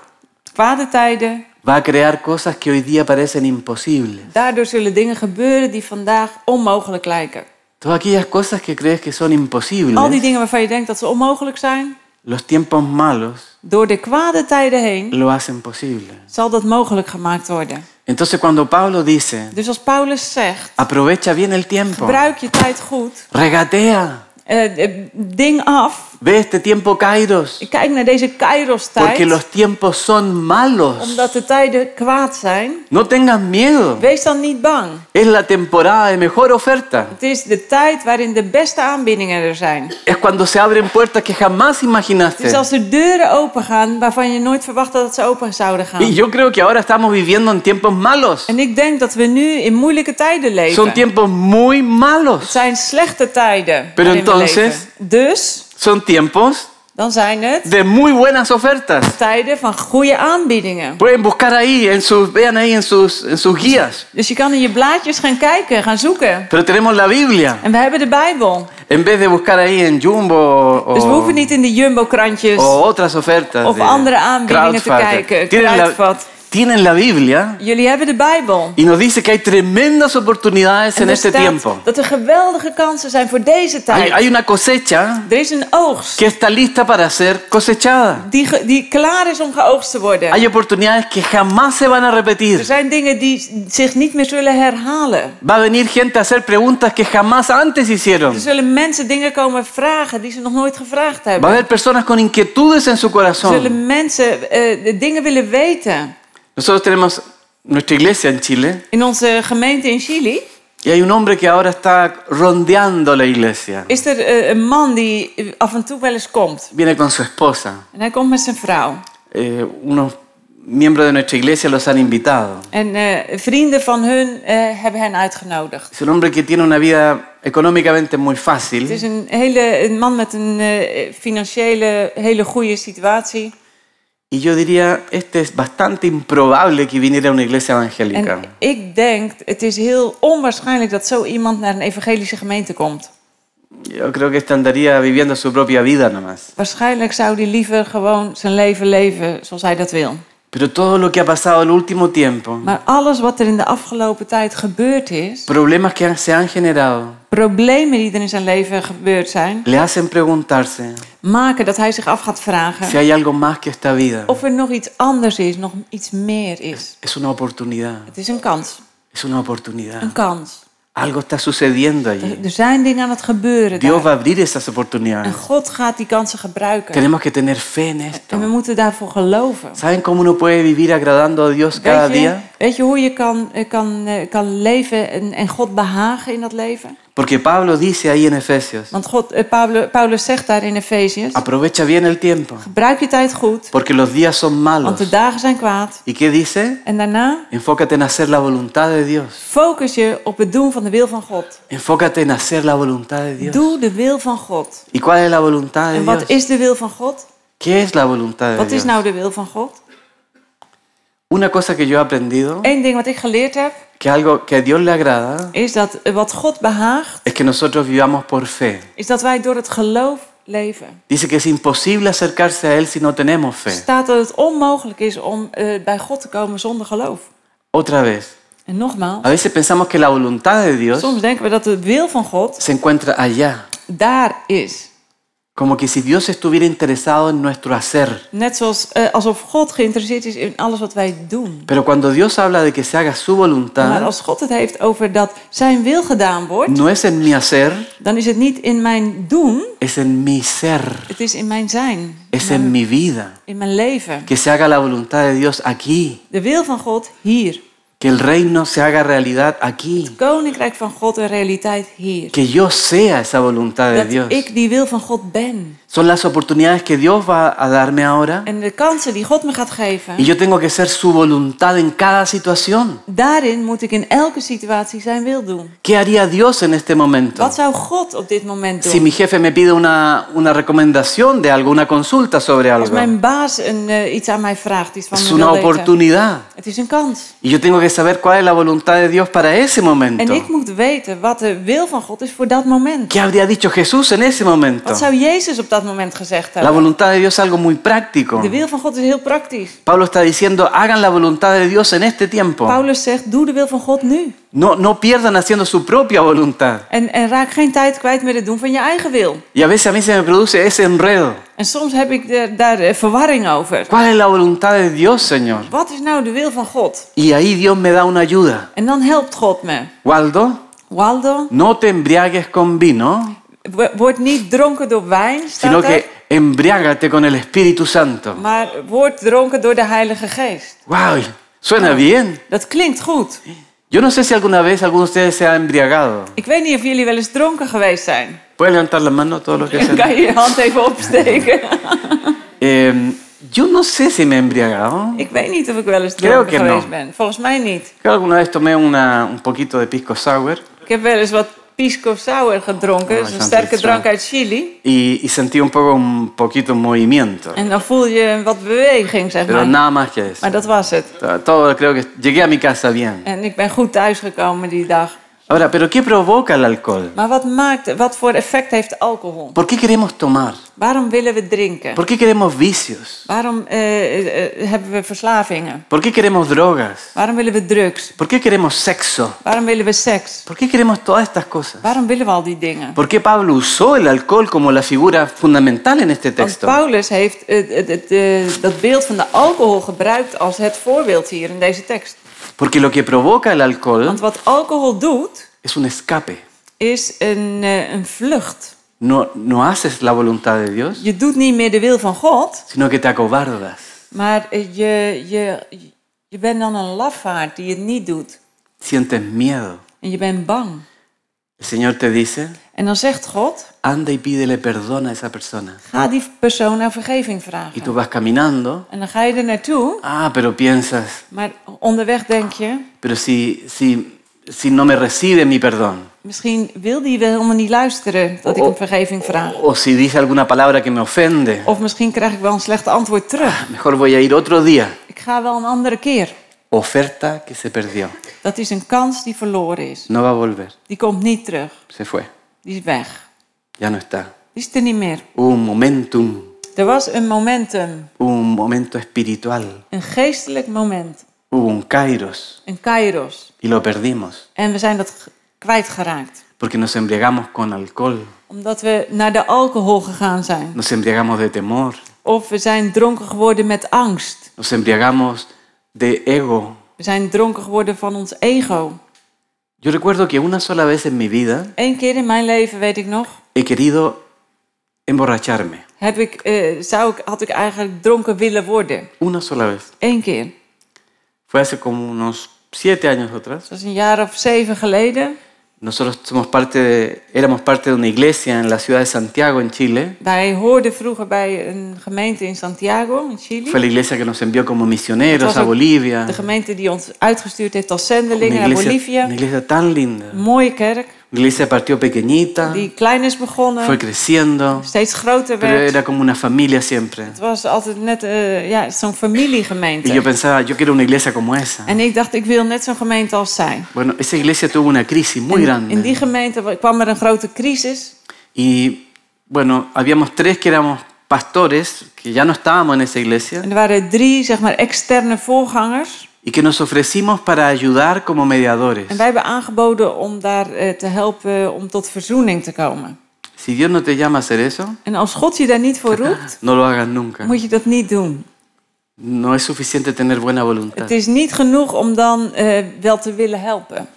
Kwade tijden, va a crear cosas que hoy día parecen imposibles. daardoor zullen dingen gebeuren die vandaag onmogelijk lijken. Todas aquellas cosas que crees que son Al die imposibles, dingen waarvan je denkt dat ze onmogelijk zijn, los tiempos malos door de kwade tijden heen lo hacen posible. zal dat mogelijk gemaakt worden. Entonces cuando Pablo dice, Dus als Paulus zegt, aprovecha bien el tiempo, gebruik je tijd goed, regatea, eh, eh, ding af, ve este tiempo kairos, Ik kijk naar deze porque Kairos-tijd, los tiempos son malos. omdat de tijden kwaad zijn, No tengas miedo, wees dan niet bang. es la temporada de mejor oferta. Het is de tijd waarin de beste aanbiedingen er zijn. Es cuando se abren puertas que jamás Dus imaginaste. als de deuren open gaan waarvan je nooit verwacht dat ze open zouden Y gaan. yo creo que ahora estamos viviendo en tiempos malos. En ik denk dat we nu in moeilijke tijden leven. Son tiempos muy Het malos. zijn slechte tijden. Pero waarin we entonces- leven. Dus, Son tiempos dan zijn het de muy buenas ofertas. tijden van goede aanbiedingen. Pueden buscar ahí, en sus, vean ahí en sus, en sus guías. Dus je kan in je blaadjes gaan kijken, gaan zoeken. Pero tenemos la Biblia. En we hebben de Bijbel. En vez de buscar ahí en Jumbo Dus we o, hoeven niet in de Jumbo-krantjes. o otras ofertas. Of de andere aanbiedingen te Crowdfutter. kijken, Tienen la, Crowdfund. tienen la Biblia Jullie hebben de Bijbel. y nos dice que hay tremendas oportunidades en er este staat tiempo. dat er geweldige kansen zijn voor deze Hay, tijd. hay una cosecha Er is een oogst que está lista para ser cosechada. die, ge- die klaar is om geoogst te worden. Hay oportunidades que jamás se van a Er repetir. zijn dingen die zich niet meer zullen herhalen. Va a venir gente a hacer preguntas que jamás antes hicieron. Er zullen mensen dingen komen vragen die ze nog nooit gevraagd Va a hebben. haber personas con inquietudes en su Er corazón. zullen mensen eh, de dingen willen weten. Nosotros tenemos nuestra iglesia en Chile In onze gemeente in Chili y hay un hombre que ahora está rondeando la iglesia. is er eh, een man die eh, af en toe wel eens komt. Viene con su esposa. En hij komt met zijn vrouw. Eh, unos miembros de nuestra iglesia los han invitado. En eh, vrienden van hun eh, hebben hen uitgenodigd. Es un hombre que tiene una vida económicamente muy Het is fácil een, hele, een man met een eh, financiële hele goede situatie. y yo diría, este es bastante improbable que viniera a una iglesia evangélica. En ik denk, het is heel onwaarschijnlijk dat zo iemand naar een evangelische gemeente komt. Yo creo que este andaría viviendo su propia vida nomás. Waarschijnlijk zou hij liever gewoon zijn leven leven zoals hij dat wil. Pero todo lo que ha pasado el último tiempo, Maar alles wat er in de afgelopen tijd gebeurd is, problemas que han- se han generado, problemen die er in zijn leven gebeurd zijn, le hacen preguntarse maken dat hij zich af gaat vragen si hay algo más que esta vida. Ah. of er nog iets anders is, nog iets meer is. Es una oportunidad, Het is een kans, es una een oportunidad. kans. Algo está sucediendo allí. Er er zijn dingen aan het gebeuren. daar. Dios va a abrir esas En oportunidades. God gaat die kansen gebruiken. Tenemos que tener fe en En we esto. moeten daarvoor geloven. ¿Saben cómo uno puede vivir agradando a Dios cada Weet je, día? weet je hoe je kan, eh, kan, eh, kan leven en, en God behagen in dat leven? Porque Pablo dice ahí en Efesios, Want God, eh, Paulus, Paulus zegt daar in Efeziërs: aprovecha bien el tiempo, gebruik je tijd goed, porque los días son want malos. de dagen zijn kwaad. ¿Y qué dice? En daarna Enfócate en hacer la voluntad de Dios. focus je op het doen van de wil van God. Enfócate en hacer la voluntad de Dios. Doe de wil van God. ¿Y cuál es la voluntad de En Dios? wat is de wil van God? ¿Qué es la voluntad de Wat is Dios? nou de wil van God? Una cosa que yo he aprendido, Eén ding wat ik geleerd heb, que algo que a Dios le agrada, is dat eh, wat God behaagt, es que nosotros vivamos por fe. is dat wij door het geloof leven. Dice que es imposible acercarse a Él si no tenemos Er fe. staat dat het onmogelijk is om eh, bij God te komen zonder geloof. Otra vez, En nogmaals, A veces pensamos que la voluntad de Dios soms denken we dat de wil van God se encuentra allá, daar is. como que si Dios estuviera interesado en nuestro hacer. Net zoals eh, alsof God geïnteresseerd is in alles wat wij doen. Pero cuando Dios habla de que se haga su Maar voluntad, als God het heeft over dat zijn wil gedaan wordt, no es en mi hacer, dan is het niet in mijn doen, es en mi ser, het is in mijn zijn, es en mi vida. in mijn leven. Que se haga la voluntad de Dios aquí, De wil van God hier. que el reino se haga realidad aquí, Koninkrijk van God en realiteit hier. que yo sea esa voluntad de Dat Dios. ik die wil van God ben. Son las oportunidades que Dios va a darme ahora En de kansen die God me gaat y geven, yo tengo que ser su voluntad en cada situación. daarin moet ik in elke situatie zijn wil doen. ¿Qué haría Dios en este momento? Wat zou God op dit moment Si doen? mi jefe me pide una, una recomendación de algo, una consulta sobre Als algo, mijn baas een, eh, iets aan mij vraagt, iets van es me una wil weten. oportunidad. Het is een kans. Y yo tengo que saber cuál es la voluntad de Dios para ese En momento. ik moet weten wat de wil van God is voor dat moment. ¿Qué habría dicho Jesús en ese momento? Wat zou Jezus op dat moment gezegd La hebben? voluntad de Dios es algo muy práctico. De wil van God is heel praktisch. Pablo está diciendo, hagan la voluntad de Dios en este tiempo. Paulus zegt, doe de wil van God nu. No, no pierdan haciendo su propia voluntad. En, en raak geen tijd kwijt met het doen van je eigen wil. Y a veces a mí se me produce ese enredo. En soms heb ik de- daar eh, verwarring over. ¿Cuál es la voluntad de Dios, Señor? Wat is nou de wil van God? Y ahí Dios me da una ayuda. En dan helpt God me. Waldo, Waldo, no te embriagues con vino, wo- word niet dronken door wijn, sino staat er. que embriágate con el Espíritu Santo. Maar word dronken door de Heilige Geest. ¡Wow! Suena bien. Dat klinkt goed. Yo no sé si alguna vez alguno de ustedes se ha embriagado. Ik weet niet of jullie wel eens dronken geweest zijn. Pueden levantar la mano todos los que se Kan han... je je hand even opsteken? Eh, yo no sé si me he embriagado. Ik weet niet of ik wel eens Creo dronken que no. geweest ben. Volgens mij niet. Creo alguna vez tomé una, un poquito de pisco sour Ik heb wel eens wat pisco sour gedronken. Oh, Dat is een sounds sterke like drank uit Chili. y, y sentí un poco un poquito de movimiento. En dan voel je wat beweging, zeg Pero maar. nada más que eso. Maar dat was het. Todo- Todo creo que llegué a mi casa bien. En ik ben goed thuisgekomen die dag. Ahora, ¿pero qué provoca el alcohol? Maar wat, maakt, wat voor effect heeft alcohol? ¿Por qué queremos tomar? Waarom willen we drinken? ¿Por qué queremos vicios? Waarom eh, eh, eh, hebben we verslavingen? ¿Por qué queremos drogas? Waarom willen we drugs? ¿Por qué queremos sexo? Waarom willen we seks? ¿Por qué queremos todas estas cosas? Waarom willen we al die dingen? ¿Por qué Pablo usó el alcohol como la figura fundamental en este Want texto? Paulus heeft het, het, het, eh, dat beeld van de alcohol gebruikt als het voorbeeld hier in deze tekst. Porque lo que provoca el alcohol Want wat alcohol doet, es un escape. is een, eh, een vlucht. No, no haces la voluntad de Dios, Je doet niet meer de wil van God, sino que te acobardas. maar eh, je, je, je bent dan een lafaard die het niet doet. Sientes miedo. En je bent bang. El Señor te dice, En dan zegt God, anda y pídele perdón a esa persona. ga die persoon naar vergeving Y vragen. tú vas caminando. En dan ga je er naartoe, Ah, pero piensas, maar onderweg denk je, pero si, si, si no me recibe mi perdón, misschien wil die wel helemaal niet luisteren dat ik om vergeving vraag. o si dice alguna palabra que me ofende, Of misschien krijg ik wel een slecht antwoord terug. mejor voy a ir otro día. Ik ga wel een andere keer. Oferta que se perdió. Dat is een kans die verloren is. No va a volver. Die komt niet terug. Se fue. Die is weg. Ya no está. Die is er niet meer. Hubo un momentum, Er was een momentum, hubo un momento espiritual, een geestelijk moment, hubo un kairos een kairos. y lo perdimos En we zijn dat g- kwijtgeraakt. porque nos embriagamos con alcohol, Omdat we naar de alcohol gegaan zijn. nos embriagamos de temor, Of we zijn dronken geworden met angst. nos embriagamos de ego. We zijn dronken geworden van ons ego. Yo recuerdo que una sola vez en mi vida Eén keer in mijn leven, weet ik nog, he querido emborracharme. heb ik, eh, zou ik, had ik eigenlijk dronken willen worden. Una sola vez. Eén keer. Fue hace como unos siete años atrás. Dat is een jaar of zeven geleden. Nosotros somos parte de- éramos parte de una iglesia en la ciudad de Santiago, en Chile. Wij hoorden vroeger bij een gemeente in Santiago, in Fue Chili. la iglesia que nos envió como misioneros a Bolivia. De gemeente die ons uitgestuurd heeft als zendelingen Una naar iglesia, una Bolivia. iglesia tan linda. Een mooie kerk, La iglesia partió pequeñita, die klein is fue begonnen, creciendo, steeds groter pero werd. era como una familia siempre. Het was altijd net eh, ja, zo'n Y yo familiegemeente. pensaba, yo quiero una iglesia como esa. En ik dacht, ik wil net zo'n gemeente als zij. Bueno, esa iglesia tuvo una crisis muy En in grande. die gemeente wa- kwam er een grote crisis. Y bueno, habíamos tres que éramos pastores, que ya no estábamos en esa iglesia, En er waren drie zeg maar, externe voorgangers. y que nos ofrecimos para ayudar como mediadores. En wij hebben aangeboden om daar eh, te helpen om tot verzoening te komen. Si Dios no te llama a hacer eso, En als God je daar niet voor roept, no lo hagas nunca. moet je dat niet doen. No es suficiente tener buena voluntad. Het is niet genoeg om dan eh, wel te willen helpen.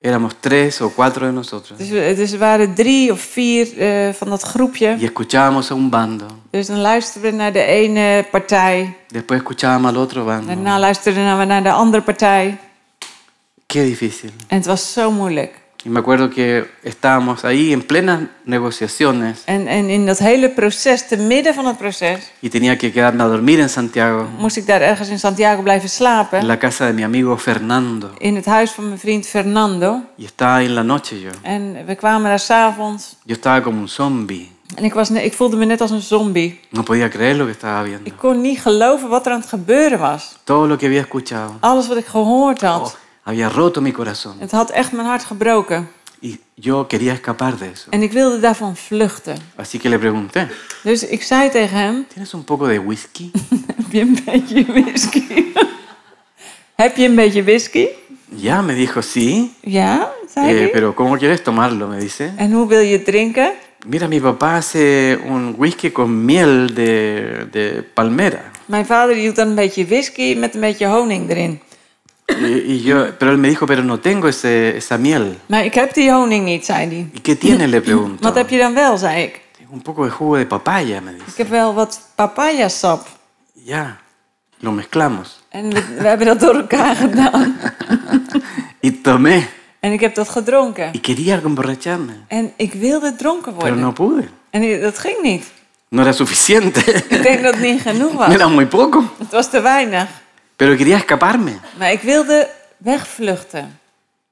Éramos tres o cuatro de nosotros Dus, we- dus er waren drie of vier eh, van dat groepje. y escuchábamos a un bando, Dus dan luisterden we naar de ene partij. después escuchábamos al otro bando. Daarna luisterden we naar de andere partij. Qué difícil. En het was zo moeilijk. Y me acuerdo que estábamos ahí en plenas negociaciones En, en in dat hele proces, te midden van het proces, y tenía que quedarme a dormir en Santiago, moest ik daar ergens in Santiago blijven en slapen. la casa de mi amigo Fernando. In het huis van mijn vriend Fernando. Y estaba ahí en la noche yo. En we kwamen daar s'avonds. Yo estaba como un zombie. En ik, was, ne- ik voelde me net als een zombie. No podía creer lo que estaba Ik viendo. kon niet geloven wat er aan het gebeuren was. Todo lo que había escuchado Alles wat ik gehoord oh, had. había roto mi corazón. Het had echt mijn hart gebroken. Y yo quería escapar de eso. En ik wilde daarvan vluchten. Así que le pregunté, Dus ik zei tegen hem: ¿tienes un poco de whisky? Heb je een beetje whisky? Heb je een beetje whisky? ya, me dijo, sí. Ja, zei Eh, hij. pero ¿cómo quieres tomarlo? Me dice. En hoe wil je het drinken? Mira, mi papá hace un whisky con miel de, de palmera. Mijn vader hield dan een beetje whisky met een beetje honing erin. Y, y yo, pero él me dijo, pero no tengo ese, esa miel. Maar ik heb die honing niet, zei hij. ¿Y qué tiene? Le pregunto. Wat heb je dan wel, zei ik. Un poco de jugo de papaya, me Ik dice. heb wel wat papayasap. Ya, lo mezclamos. En we, we hebben dat door elkaar gedaan. Y tomé. En ik heb dat gedronken. Y quería emborracharme, En ik wilde dronken pero worden. no pude. En ik- dat ging niet. No era suficiente. Ik denk dat het niet genoeg was. Era muy poco. Het was te weinig. Pero quería escaparme. Maar ik wilde wegvluchten.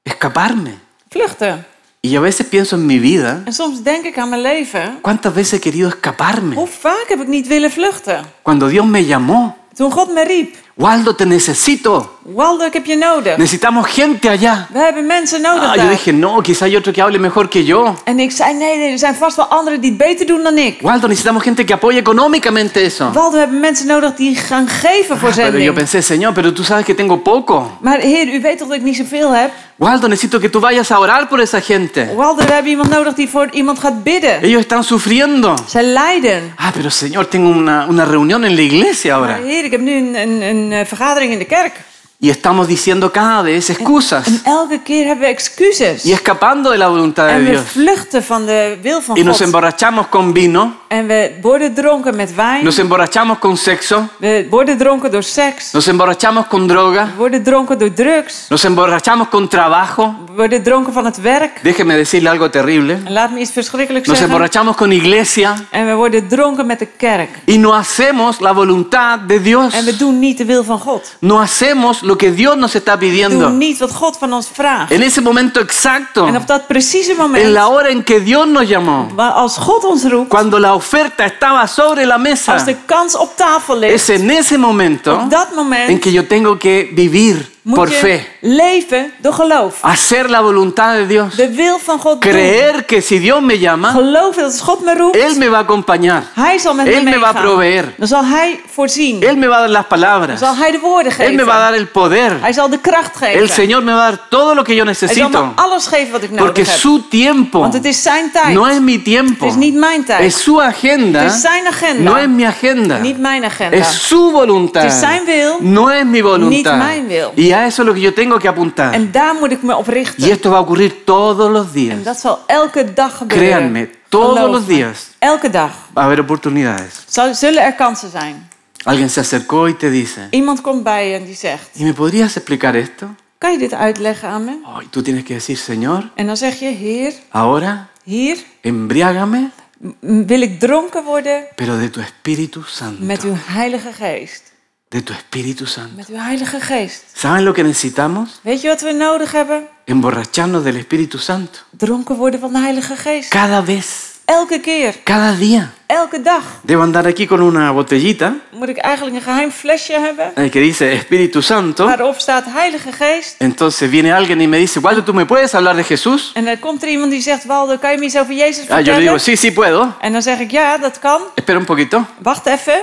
Escaparme. Vluchten. Y yo a veces pienso en mi vida. En soms denk ik aan mijn leven. ¿Cuántas veces he querido Hoe escaparme? vaak heb ik niet willen vluchten? Cuando Dios me llamó. Toen God me riep: Waldo, te necesito. Waldo, ik heb je nodig. Necesitamos gente allá. We hebben mensen nodig Ah, daar. yo dije, no, quizá hay otro que hable mejor que yo. En ik zei: nee, nee, er zijn vast wel anderen die het beter doen dan ik. Waldo, necesitamos gente que apoye económicamente eso. Waldo, we hebben mensen nodig die gaan geven voor Ah, Pero yo zending. pensé, Señor, pero tú sabes que tengo poco. Maar Heer, u weet toch dat ik niet zoveel heb? Waldo, necesito que tú vayas a orar por esa gente. Waldo, we hebben iemand nodig die voor iemand gaat bidden. Ellos están sufriendo. Zij lijden. Ah, pero Señor, tengo una, una reunión en la iglesia Maar ahora. Heer, ik heb nu een, een, een eh, vergadering in de kerk. Y estamos diciendo cada vez excusas En elke keer hebben we excuses. y escapando de la voluntad En de we Dios. vluchten van de wil van Y nos God. emborrachamos con vino, En we worden dronken met wijn. nos emborrachamos con sexo, We worden dronken door seks. nos emborrachamos con We droga, worden dronken door drugs. nos emborrachamos con trabajo. We worden dronken van het werk. Déjeme decirle algo terrible. En laat me iets verschrikkelijks Nos zeggen. emborrachamos con iglesia En we worden dronken met de kerk. y no hacemos la voluntad de Dios. En we doen niet de wil van God. No hacemos lo que Dios nos está We doen pidiendo. niet wat God van ons vraagt. En ese momento exacto, En op dat precieze en la moment, hora en que Dios nos llamó, waar als God ons roept, cuando la oferta estaba sobre la als mesa, de kans op tafel es ligt, en ese momento op dat moment en que yo tengo que vivir por moet je fe, leven door geloof. hacer la voluntad de Dios, De wil van God doen. creer que si Dios me llama, Geloven dat als God me Él roept, me va a acompañar, Hij zal met Él me me va a meegaan. proveer, Dan zal Hij voorzien. Él me va a dar las Dan palabras, zal Hij de woorden Él me va a geven. dar el poder, Hij zal de kracht el geven. Señor me va a dar todo lo que yo Hij zal me necesito, alles geven wat ik porque nodig heb. su tiempo Want het is zijn tijd. no es mi tiempo, Het is niet mijn es tijd. su agenda, Het is zijn agenda. no es mi agenda. Niet mijn agenda. Es su voluntad. Het is zijn wil, no es mi voluntad. mijn wil. Y a eso es lo que yo tengo que apuntar. En daar moet ik me op richten. Y esto va a ocurrir todos los días. En dat zal elke dag gebeuren. Créanme, todos Geloof los me. días. Elke dag Va a haber oportunidades. zal, zullen er kansen zijn. Alguien se acercó y te dice, Iemand komt bij je en die zegt: ¿y me podrías explicar esto? Kan je dit uitleggen aan me? Oh, y tú tienes que decir, Señor, En dan zeg je: Heer, ahora hier embriágame, m- m- wil ik dronken worden pero de tu Espíritu Santo. met uw Heilige Geest. De tu Espíritu Santo. Met uw Heilige Geest. ¿Saben lo que necesitamos? Weet je wat we nodig hebben? Emborracharnos del Espíritu Santo. Dronken worden van de Heilige Geest. Cada vez, Elke keer, cada día. elke dag Debo andar aquí con una botellita moet ik eigenlijk een geheim flesje hebben eh, que dice Espíritu Santo. waarop staat Heilige Geest. Entonces viene alguien y me dice, Waldo, ¿tú me puedes hablar de Jesús? En dan komt er iemand die zegt: Waldo, kan je me iets over Jezus Ah, yo vertellen? le digo, sí, sí puedo. En dan zeg ik: Ja, dat kan. Espera un poquito. Wacht even.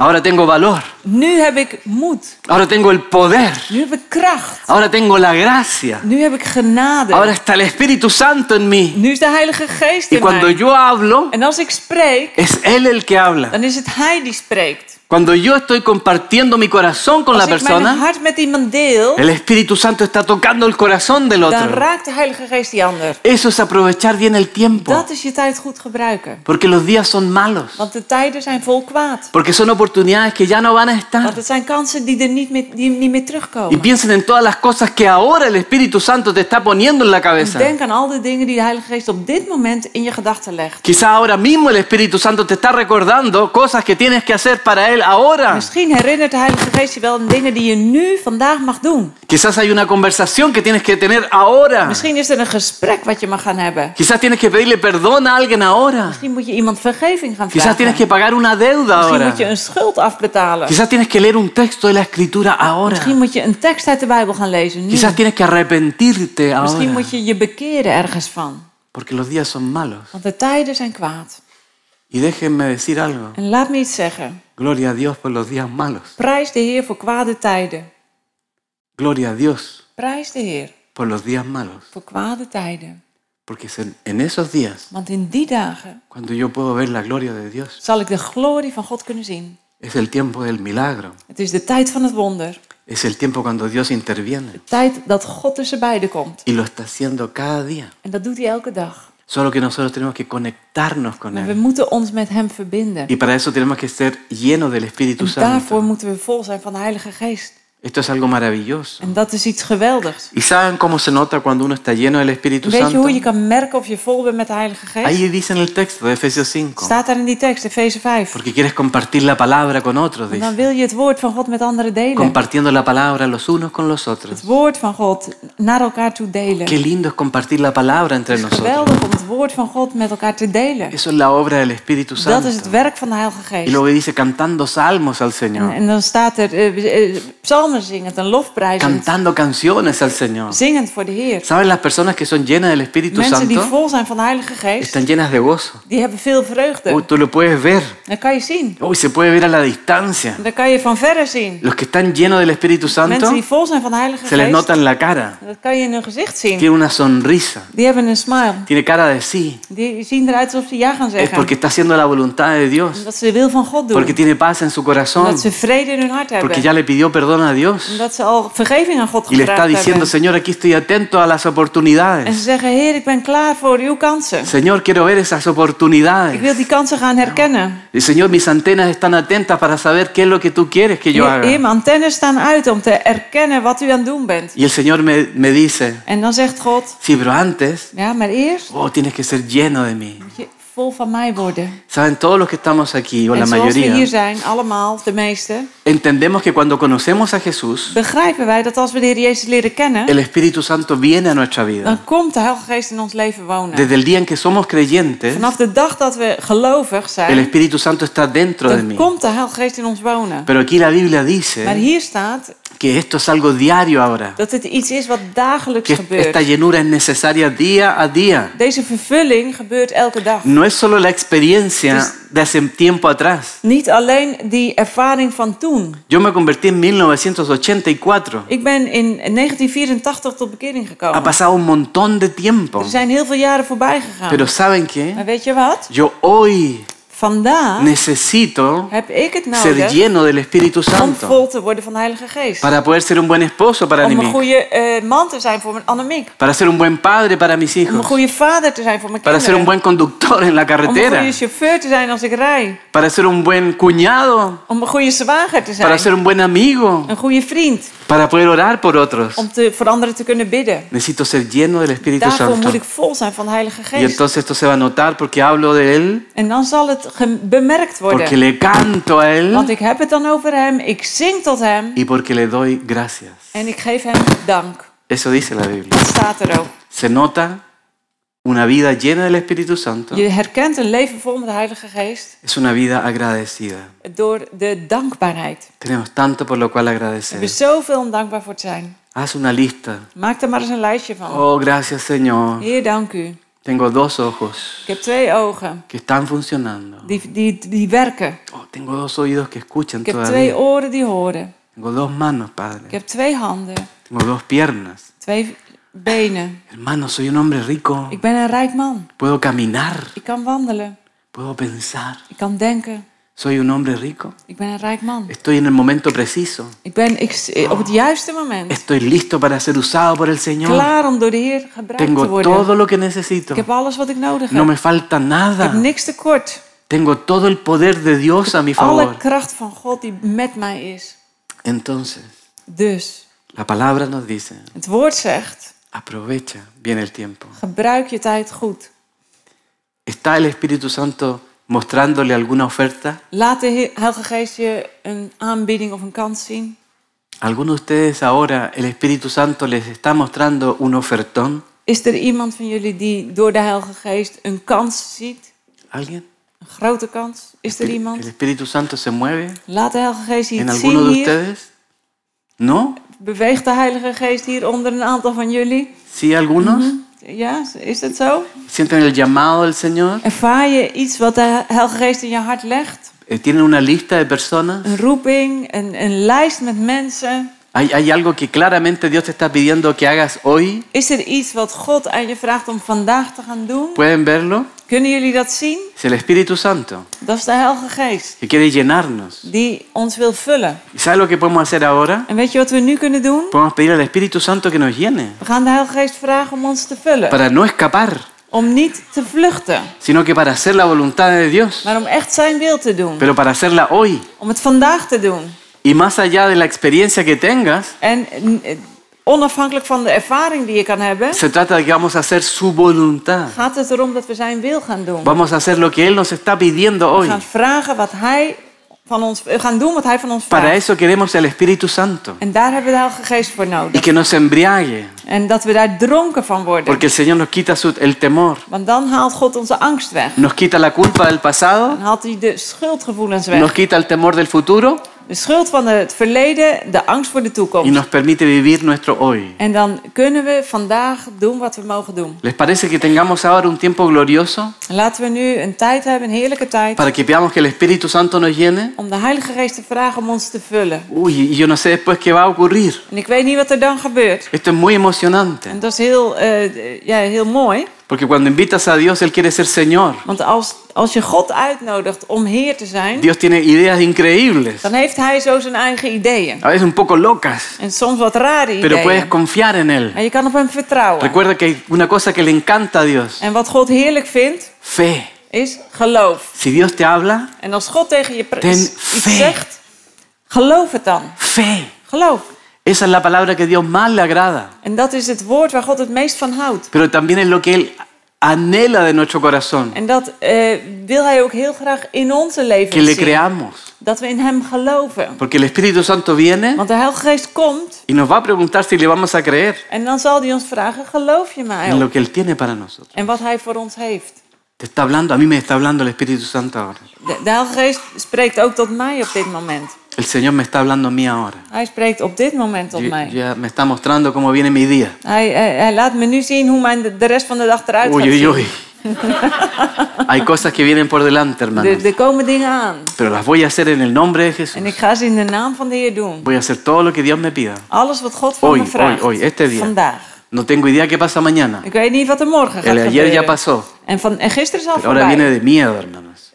Ahora tengo valor. Nu heb ik moed. Ahora tengo el poder. Nu heb ik kracht. Ahora tengo la gracia. Nu heb ik genade. Ahora está el Espíritu Santo en mí. Nu is de Heilige Geest Y in cuando mij. yo hablo, En als ik spreek, es Él el que habla. dan is het Hij die spreekt. Cuando yo estoy compartiendo mi corazón con la Als ik mijn persona, hart met iemand deel, el Espíritu Santo está tocando el corazón del dan otro. raakt de Heilige Geest die ander. Eso es aprovechar bien el tiempo. Dat is je tijd goed gebruiken. Porque los días son malos. Want de tijden zijn vol kwaad. Porque son oportunidades que ya no van a Want estar. het zijn kansen die er niet meer, Ah. die niet meer Y terugkomen. piensen en todas las cosas que ahora el Espíritu Santo te está poniendo en la cabeza. Dus Denk aan al de dingen die de Heilige Geest op dit moment in je gedachten legt. Quizá ahora mismo el Espíritu Santo te está recordando cosas que tienes que hacer para Él ahora. Misschien herinnert de Heilige Geest je wel aan dingen die je nu vandaag mag doen. Quizás hay una conversación que tienes que tener ahora. Misschien is er een gesprek wat je mag gaan hebben. Quizás tienes que pedirle perdón a alguien ahora. Misschien moet je iemand vergeving gaan Quizás tienes vragen. que pagar una deuda Misschien ahora. moet je een schuld afbetalen. Quizás tienes que leer un texto de la Escritura ahora. Misschien moet je een tekst uit de Bijbel gaan lezen. Nu. Quizás tienes que arrepentirte Misschien ahora. moet je je bekeren ergens van. Porque los días son malos. Want de tijden zijn kwaad. Y déjenme decir algo. En laat me iets zeggen. Gloria a Dios por los días malos. Prijs de Heer voor kwade tijden. Gloria a Dios Prijs de Heer por los días malos. voor kwade tijden. Porque es en- en esos días, Want in die dagen cuando yo puedo ver la gloria de Dios, zal ik de glorie van God kunnen zien. es el tiempo del milagro. Het is de tijd van het wonder. Es el tiempo cuando Dios interviene. Tijd dat God tussen beiden komt. Y lo está haciendo cada día. En dat doet hij elke dag. Solo que nosotros tenemos que conectarnos con Maar we Él. moeten ons met hem verbinden. Y para eso tenemos que ser llenos del Espíritu En daarvoor Santo. moeten we vol zijn van de Heilige Geest. Esto es algo maravilloso. En dat is iets geweldigs. ¿Y saben cómo se nota cuando uno está lleno del Espíritu Weet je Santo? hoe je kan merken of je vol bent met de Heilige Geest? Ahí dice en el texto de Efesios 5. Staat daar in die tekst, Efeze 5. Porque quieres compartir la palabra con otros, En dan dice. wil je het woord van God met anderen delen. Compartiendo la palabra los unos con los otros. Het woord van God naar elkaar toe delen. Qué lindo es compartir la palabra entre Het is nosotros. geweldig om het woord van God met elkaar te delen. Eso es la obra del Espíritu Dat is het Santo. werk van de Heilige Y Geest. luego dice cantando salmos al En, Señor. en dan staat er eh, eh, psalmen zingend en lofprijzend. Cantando canciones al Señor. Zingend voor de Heer. ¿Saben las personas que son llenas del Espíritu Mensen die Santo? vol zijn van de Heilige Geest, Están llenas de gozo. die hebben veel vreugde. Uy, tú lo puedes ver. Dat kan je zien. Uy, se puede ver a la distancia. Dat kan je van verre zien. Los que están llenos del Espíritu Santo Mensen die vol zijn van de Heilige se les Geest, nota en la cara. dat kan je in hun gezicht zien. Tiene una sonrisa. Die hebben een smile. Tiene cara de sí. Die zien eruit alsof ze ja gaan Es porque zeggen. está haciendo la voluntad de Dios. Omdat ze de wil van God doen. Porque tiene paz en su corazón. Omdat ze vrede in hun hart Porque hebben. ya le pidió perdón a Dios. Omdat ze al vergeving aan God Y le está gevraagd diciendo, hebben. Señor, aquí estoy atento a las En ze oportunidades. zeggen, Heer, ik ben klaar voor uw kansen. Señor, quiero ver esas Ik wil oportunidades. die kansen gaan herkennen. Y Señor, mis antenas están atentas para saber qué es lo que tú quieres que yo Heer, haga. mijn antennes staan uit om te erkennen wat u aan het doen bent. Y el Señor me, me dice, En dan zegt God, sí, pero antes, ja, maar eerst oh, tienes que ser lleno de mí. moet je vol van mij worden. Saben, todos los que estamos aquí, o la En zoals we hier mayoría, zijn, allemaal, de meeste, entendemos que cuando conocemos a Jesús, begrijpen wij dat als we de Heer Jezus leren kennen, el Espíritu Santo viene a nuestra vida. dan komt de Heilige Geest in ons leven wonen. Desde el día en que somos creyentes, Vanaf de dag dat we gelovig el zijn, Espíritu Santo está dentro de dan mí. komt de Heilige Geest in ons wonen. Pero aquí la Biblia Maar dice hier staat que esto es algo diario ahora, dat het iets is wat dagelijks que esta gebeurt. llenura es necesaria día a día. Deze vervulling gebeurt elke dag. No es solo la experiencia de hace tiempo atrás. Niet alleen die ervaring van toen. Yo me convertí en 1984. Ik ben in 1984 tot bekering Ha gekomen. pasado un montón de tiempo. Er zijn heel veel jaren voorbij gegaan. Pero ¿saben qué? Maar weet je wat? Yo hoy Vandaag necesito heb ik het ser nodig lleno del Espíritu om Santo vol te worden van de Heilige Geest. para poder ser un buen esposo para Om een mí, goede eh, man te zijn voor mijn Annemiek. para ser un buen padre para mis Om een hijos, goede vader te zijn voor mijn para ser kinderen. un buen conductor en la Om een carretera, goede chauffeur te zijn als ik rij. para ser un buen cuñado, Om een goede zwager te para zijn. ser un buen amigo, Een goede vriend. para poder orar por otros. Om te, voor anderen te kunnen bidden. Necesito ser lleno del Espíritu Daarvoor Santo. moet ik vol zijn van de Heilige Y Geest. entonces esto se va a notar porque hablo de Él, En dan zal het ge- bemerkt porque worden. le canto a Want Él ik heb het dan over hem. Ik zing tot hem. y porque le doy gracias. En ik geef hem dank. Eso dice la Biblia. Dat staat er ook. Se nota una vida llena del Espíritu Santo. Je herkent een leven vol met de Heilige Geest Es una vida agradecida. door de dankbaarheid. Tenemos tanto por lo cual We hebben agradecer. zoveel om dankbaar voor te zijn. Haz una lista. Maak er maar eens een lijstje van. Oh, gracias Señor. Heer, dank u Tengo dos ojos Ik heb twee ogen que están funcionando. die, die, die werken. Oh, tengo dos oídos que escuchan Ik heb twee todavía. oren die horen. Tengo dos manos, Ik Padre. heb twee handen, Tengo dos piernas. twee benen. Hermano, soy un hombre rico. Ik ben een rijk man. Puedo caminar. Ik kan wandelen. Puedo pensar. Ik kan denken. Soy un hombre rico. Ik ben een rijk man. Estoy en el momento preciso. Ik ben ik, op het juiste moment Estoy listo para ser usado por el Señor. klaar om door de Heer gebruikt te Tengo worden. todo lo que necesito. Ik heb alles wat ik nodig No heb. me falta Ik heb nada. niks tekort. Tengo todo el poder de Dios a mi favor. Alle kracht van God die met mij is. Entonces, Dus, la palabra nos dice, het woord zegt, aprovecha bien el tiempo. gebruik je tijd goed. ¿Está el Espíritu Santo mostrándole alguna oferta? Laat de Heer- Heilige Geest je een aanbieding of een kans zien. ¿Alguno de ustedes ahora el Espíritu Santo les está mostrando un ofertón? Is er iemand van jullie die door de Heilige Geest een kans ziet? ¿Alguien? Een grote kans? Is er ¿El iemand? Espíritu Santo se mueve Laat de Heilige Geest en iets zien alguno de hier. ustedes? ¿No? Beweegt de Heilige Geest hier onder een aantal van jullie? ¿Sí algunos? Ja, is dat zo? ¿Sienten el llamado del Señor? Ervaar je iets wat de Heilige Geest in je hart legt? Eh, ¿Tienen una lista de personas? Een roeping, een, een lijst met mensen. ¿Hay, hay algo que claramente Dios te está pidiendo que hagas hoy? Is er iets wat God aan je vraagt om vandaag te gaan doen? ¿Pueden verlo? Kunnen jullie dat zien? Es el Espíritu Santo Dat is de Heilige Geest que quiere llenarnos. die ons wil vullen. ¿Y sabes lo que podemos hacer ahora? En weet je wat we nu kunnen doen? Podemos pedir al Espíritu Santo que nos llene We gaan de Heilige Geest vragen om ons te vullen. para no escapar, Om niet te vluchten, sino que para hacer la voluntad de Dios, maar om echt zijn wil te doen. pero para hacerla hoy. Om het vandaag te doen. Y más allá de la experiencia que tengas, En eh, onafhankelijk van de ervaring die je kan hebben, se trata de que vamos a hacer su voluntad. gaat het erom dat we zijn wil gaan doen. Vamos a hacer lo que Él nos está pidiendo We hoy. gaan vragen wat hij van ons, we gaan doen wat hij van ons Para vraagt. eso queremos el Espíritu Santo En daar hebben we de Heilige Geest voor y nodig. que nos embriague, En dat we daar dronken van worden. porque el Señor nos quita su- el temor, Want dan haalt God onze angst weg. nos quita la culpa del pasado, Dan haalt hij de schuldgevoelens nos weg. quita el temor del futuro De schuld van het verleden, de angst voor de y toekomst. nos permite vivir nuestro hoy. En dan kunnen we vandaag doen wat we mogen doen. ¿Les parece que tengamos ahora un tiempo glorioso Laten we nu een tijd hebben, een heerlijke tijd, para que veamos que el Espíritu Santo nos llene? om de Heilige Geest te vragen om ons te vullen. Uy, y yo no sé después qué va a ocurrir. En ik weet niet wat er dan gebeurt. Esto es muy En emocionante, dat is heel, eh, ja, heel mooi. porque cuando invitas a Dios, Él quiere ser Señor. Want als, als je God uitnodigt om Heer te zijn, Dios tiene ideas increíbles, dan heeft Hij zo zijn eigen ideeën. a veces un poco locas, En soms wat rare pero puedes ideeën. confiar en Él. Maar je kan op Hem vertrouwen. Recuerda que hay una cosa que le encanta a Dios, En wat God heerlijk vindt, fe. is geloof. Si Dios te habla, En als God tegen je pre- Ten iets faith. zegt, geloof het dan. fe. Geloof. Esa es la palabra que Dios más le agrada, En dat is het woord waar God het meest van houdt. pero también es lo que Él anhela de nuestro corazón, En dat eh, wil Hij ook heel graag in onze que leven le zien. creamos. Dat we in Hem geloven. Porque el Espíritu Santo viene Want de Heilige Geest komt y nos va a preguntar si le vamos a creer en dan zal Hij ons vragen, geloof je mij en ook? lo que Él tiene para nosotros. En wat Hij voor ons heeft. Te está hablando, a mí me está hablando el Espíritu Santo ahora. De, de Heilige Geest spreekt ook tot mij op dit moment. El Señor me está hablando a mí ahora. Hij spreekt op dit moment tot Yo- mij. ya me está mostrando cómo viene mi día. Hij, hij, hij laat me nu zien hoe mijn de, de rest van de dag eruit gaat Uy, uy, zien. uy. Hay cosas que vienen por delante, hermanos. Er, er komen dingen aan. Pero las voy a hacer en el nombre de Jesús. En ik ga ze in de naam van de Heer doen. Voy a hacer todo lo que Dios me pida. Alles wat God van Oei, me vraagt. oei, oei, este día. Vandaag. No tengo idea qué pasa mañana. Ik weet niet wat er morgen gaat El ayer ya gebeuren. pasó. En, van, en gisteren is al Pero ahora voorbij. viene de miedo, hermanos.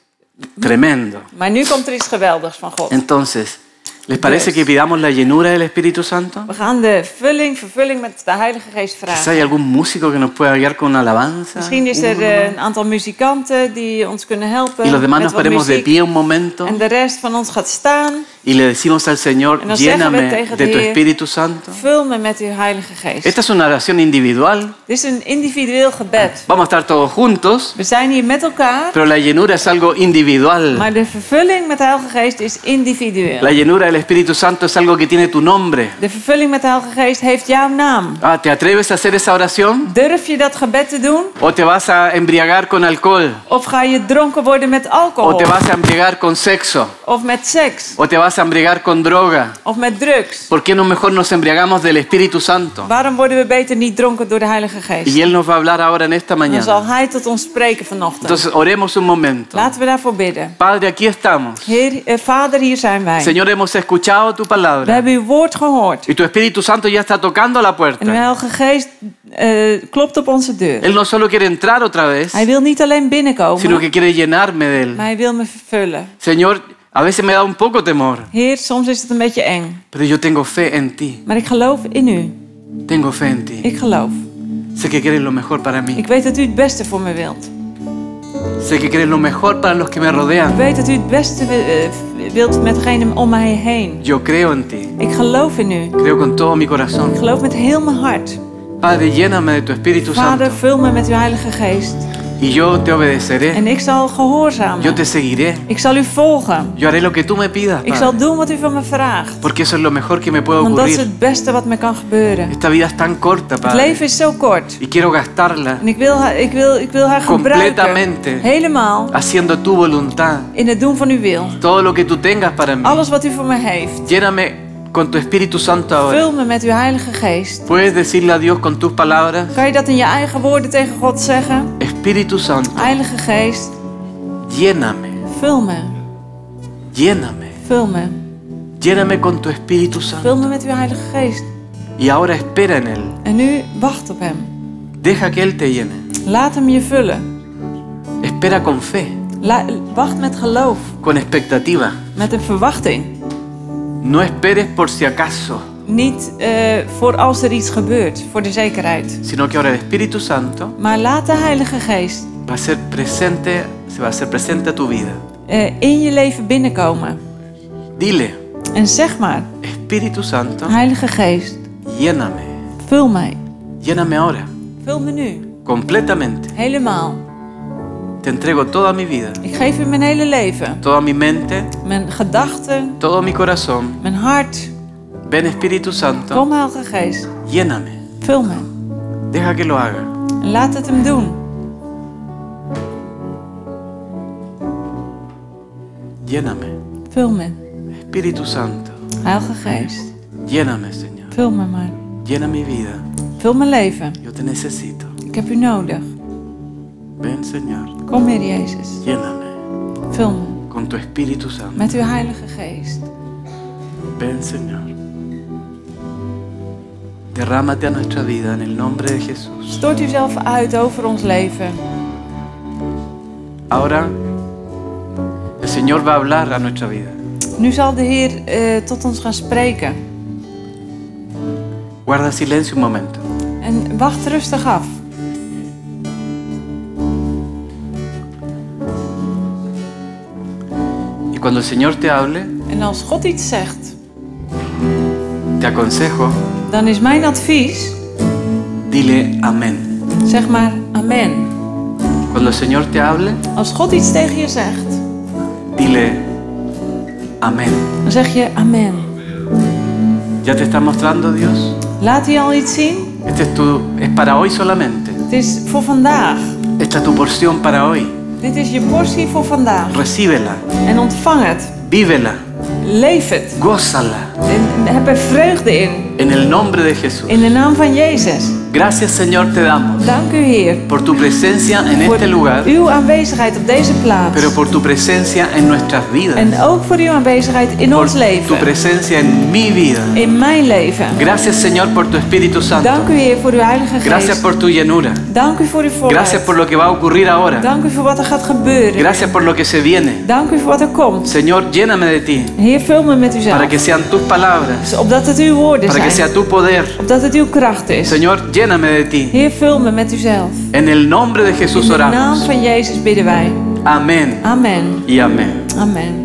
Tremendo. Maar nu komt er iets geweldigs van God. Entonces, ¿les parece que pidamos la llenura del Espíritu Santo? We gaan de vulling, vervulling met de Heilige Geest Quizá vragen. hay algún músico que nos pueda guiar con una alabanza. Misschien is er eh, een aantal muzikanten die ons kunnen helpen Y los demás met nos wat ponemos de muziek. pie un momento En de rest van ons gaat staan. y le decimos al Señor, En nos lléname zeggen we tegen de de tu Heer, Espíritu Santo. Vul me met uw Heilige Geest. Esta es una oración individual. Dit is een individueel gebed. Vamos a estar todos juntos, We zijn hier met elkaar, pero la llenura es algo individual. maar de vervulling met de Heilige Geest is individueel. La llenura del del Espíritu Santo es algo que tiene tu nombre. De vervulling met de Heilige Geest heeft jouw naam. Ah, ¿Te atreves a hacer esa oración? Durf je dat gebed te doen? ¿O te vas a embriagar con alcohol? Of ga je dronken worden met ¿O alcohol? te vas a embriagar con sexo? Of met seks? ¿O te vas a embriagar con droga? Of met drugs? ¿Por qué no mejor nos embriagamos del Espíritu Santo? Waarom worden we beter niet dronken door de Heilige Geest? Y Él nos va a hablar ahora en esta Dan zal mañana. Hij tot ons spreken vanochtend. Entonces oremos un momento. Laten we daarvoor bidden. Padre, aquí estamos. Heer, eh, Vader, hier zijn wij. Señor, hemos escuchado tu We palabra. hebben uw woord gehoord. Y tu Espíritu Santo ya está tocando la En uw puerta. Heilige Geest eh, klopt op onze deur. Él no solo quiere entrar otra vez, Hij wil niet sino alleen binnenkomen, que quiere llenarme de maar Él. hij wil me vervullen. Señor, a veces me da un poco temor, Heer, soms is het een beetje eng, pero yo tengo fe en ti. maar ik geloof in u. Tengo fe en ti. Ik geloof. Sé que quieres lo mejor para mí. Ik weet dat u het beste voor me wilt. Sé que quieres lo mejor para los que me Ik rodean. weet dat u het beste eh, wilt met degene om mij heen. Yo creo en ti. Ik geloof in u. Creo con todo mi Ik corazón. geloof met heel mijn hart. Padre, lléname de tu Espíritu Vader, Santo. vul me met uw Heilige Geest. Y yo te obedeceré. En ik Yo zal gehoorzamen. te seguiré. Ik zal u volgen. Yo haré lo que tú me pidas, Ik zal Padre. doen wat u van me vraagt. Porque eso es lo mejor que me puede Want dat is ocurrir. het beste wat me kan gebeuren. Esta vida es tan corta, Het Padre. leven is zo kort. Y quiero gastarla En ik wil, haar- ik wil, ik wil haar gebruiken. completamente Helemaal haciendo tu voluntad. in het doen van uw wil. Todo lo que tú tengas para mí. Alles wat u voor me heeft. Lléname con tu Espíritu Santo ahora. Vul me met uw Heilige Geest. Puedes decirle a Dios con tus palabras, Kan je dat in je eigen woorden tegen God zeggen? Espíritu Santo, Heilige Geest, lléname, vul me. lléname, Vul me. lléname con tu Espíritu Santo. Vul me met uw Heilige Geest. Y ahora espera en Él. En nu wacht op hem. Deja que Él te llene. Laat hem je vullen. Espera con fe, La- wacht met geloof. con expectativa. Met een verwachting. No esperes por si acaso, Niet eh, voor als er iets gebeurt, voor de zekerheid. sino que ahora el Espíritu Santo Maar laat de Heilige Geest va a ser presente, se va a hacer presente a tu vida. eh, in je leven binnenkomen. Dile, En zeg maar, Espíritu Santo, Heilige Geest, lléname, vul mij. lléname ahora, Vul me nu, completamente. helemaal. Te entrego toda mi vida, Ik geef u mijn hele leven. toda mi mente, Mijn gedachten, todo mi corazón. mijn hart. Ven Espíritu Santo, Kom, Heilige Geest, lléname, vul me. deja que lo haga. En laat het hem doen. Lléname, Vul me, Espíritu Santo, Heilige Geest. lléname, Señor. Vul me maar. Llena mi vida, Vul mijn leven. yo te necesito. Ik heb u nodig. Ven, Señor, Kom, Heer Jezus. lléname Vul me con tu Espíritu Santo. met uw Heilige Geest. Ven, Señor. Derrámate a nuestra vida en el nombre de Jesús. Stort u zelf uit over ons leven. Ahora el Señor va a hablar a nuestra vida. Nu zal de Heer eh, tot ons gaan spreken. Guarda silencio un momento. En wacht rustig af. Y cuando el Señor te hable, En als God iets zegt, te aconsejo, dan is mijn advies, dile amén. zeg maar amen. Cuando el Señor te hable, Als God iets tegen je zegt, dile amén. dan zeg je amen. Ya te está mostrando Dios. Laat hij al iets zien? Este es tu es para hoy solamente. Het is voor vandaag. Esta es tu porción para hoy. Dit is je portie voor vandaag. Recíbela, En ontvang het. vívela, Leef het. gózala En heb er vreugde in. en el nombre de Jesús. In de naam van Jezus. Gracias, Señor, te damos. Dank u Heer. por tu presencia en Voor este lugar, uw aanwezigheid op deze pero plaats. por tu presencia en nuestras vidas, En ook voor uw aanwezigheid in por ons tu leven. presencia en mi vida. In mijn leven. Gracias Señor por tu Espíritu Dank Santo, u Heer voor uw Heilige gracias Geest. por tu llenura, Dank u voor uw gracias voorbeeld. por lo que va a ocurrir ahora, Dank u voor wat er gaat gebeuren. gracias por lo que se viene. Dank u voor wat er komt. Señor, lléname de ti, Heer, vul me met para uzelf. Dus que sean tus palabras, Opdat het uw woorden para que zijn. sea tu poder. Opdat het uw kracht is. Señor, lléname de ti. Heer, vul me met uzelf. En el nombre de In Jesús de naam oramos. van Jezus bidden wij. Amén Amen. y amén. Amen.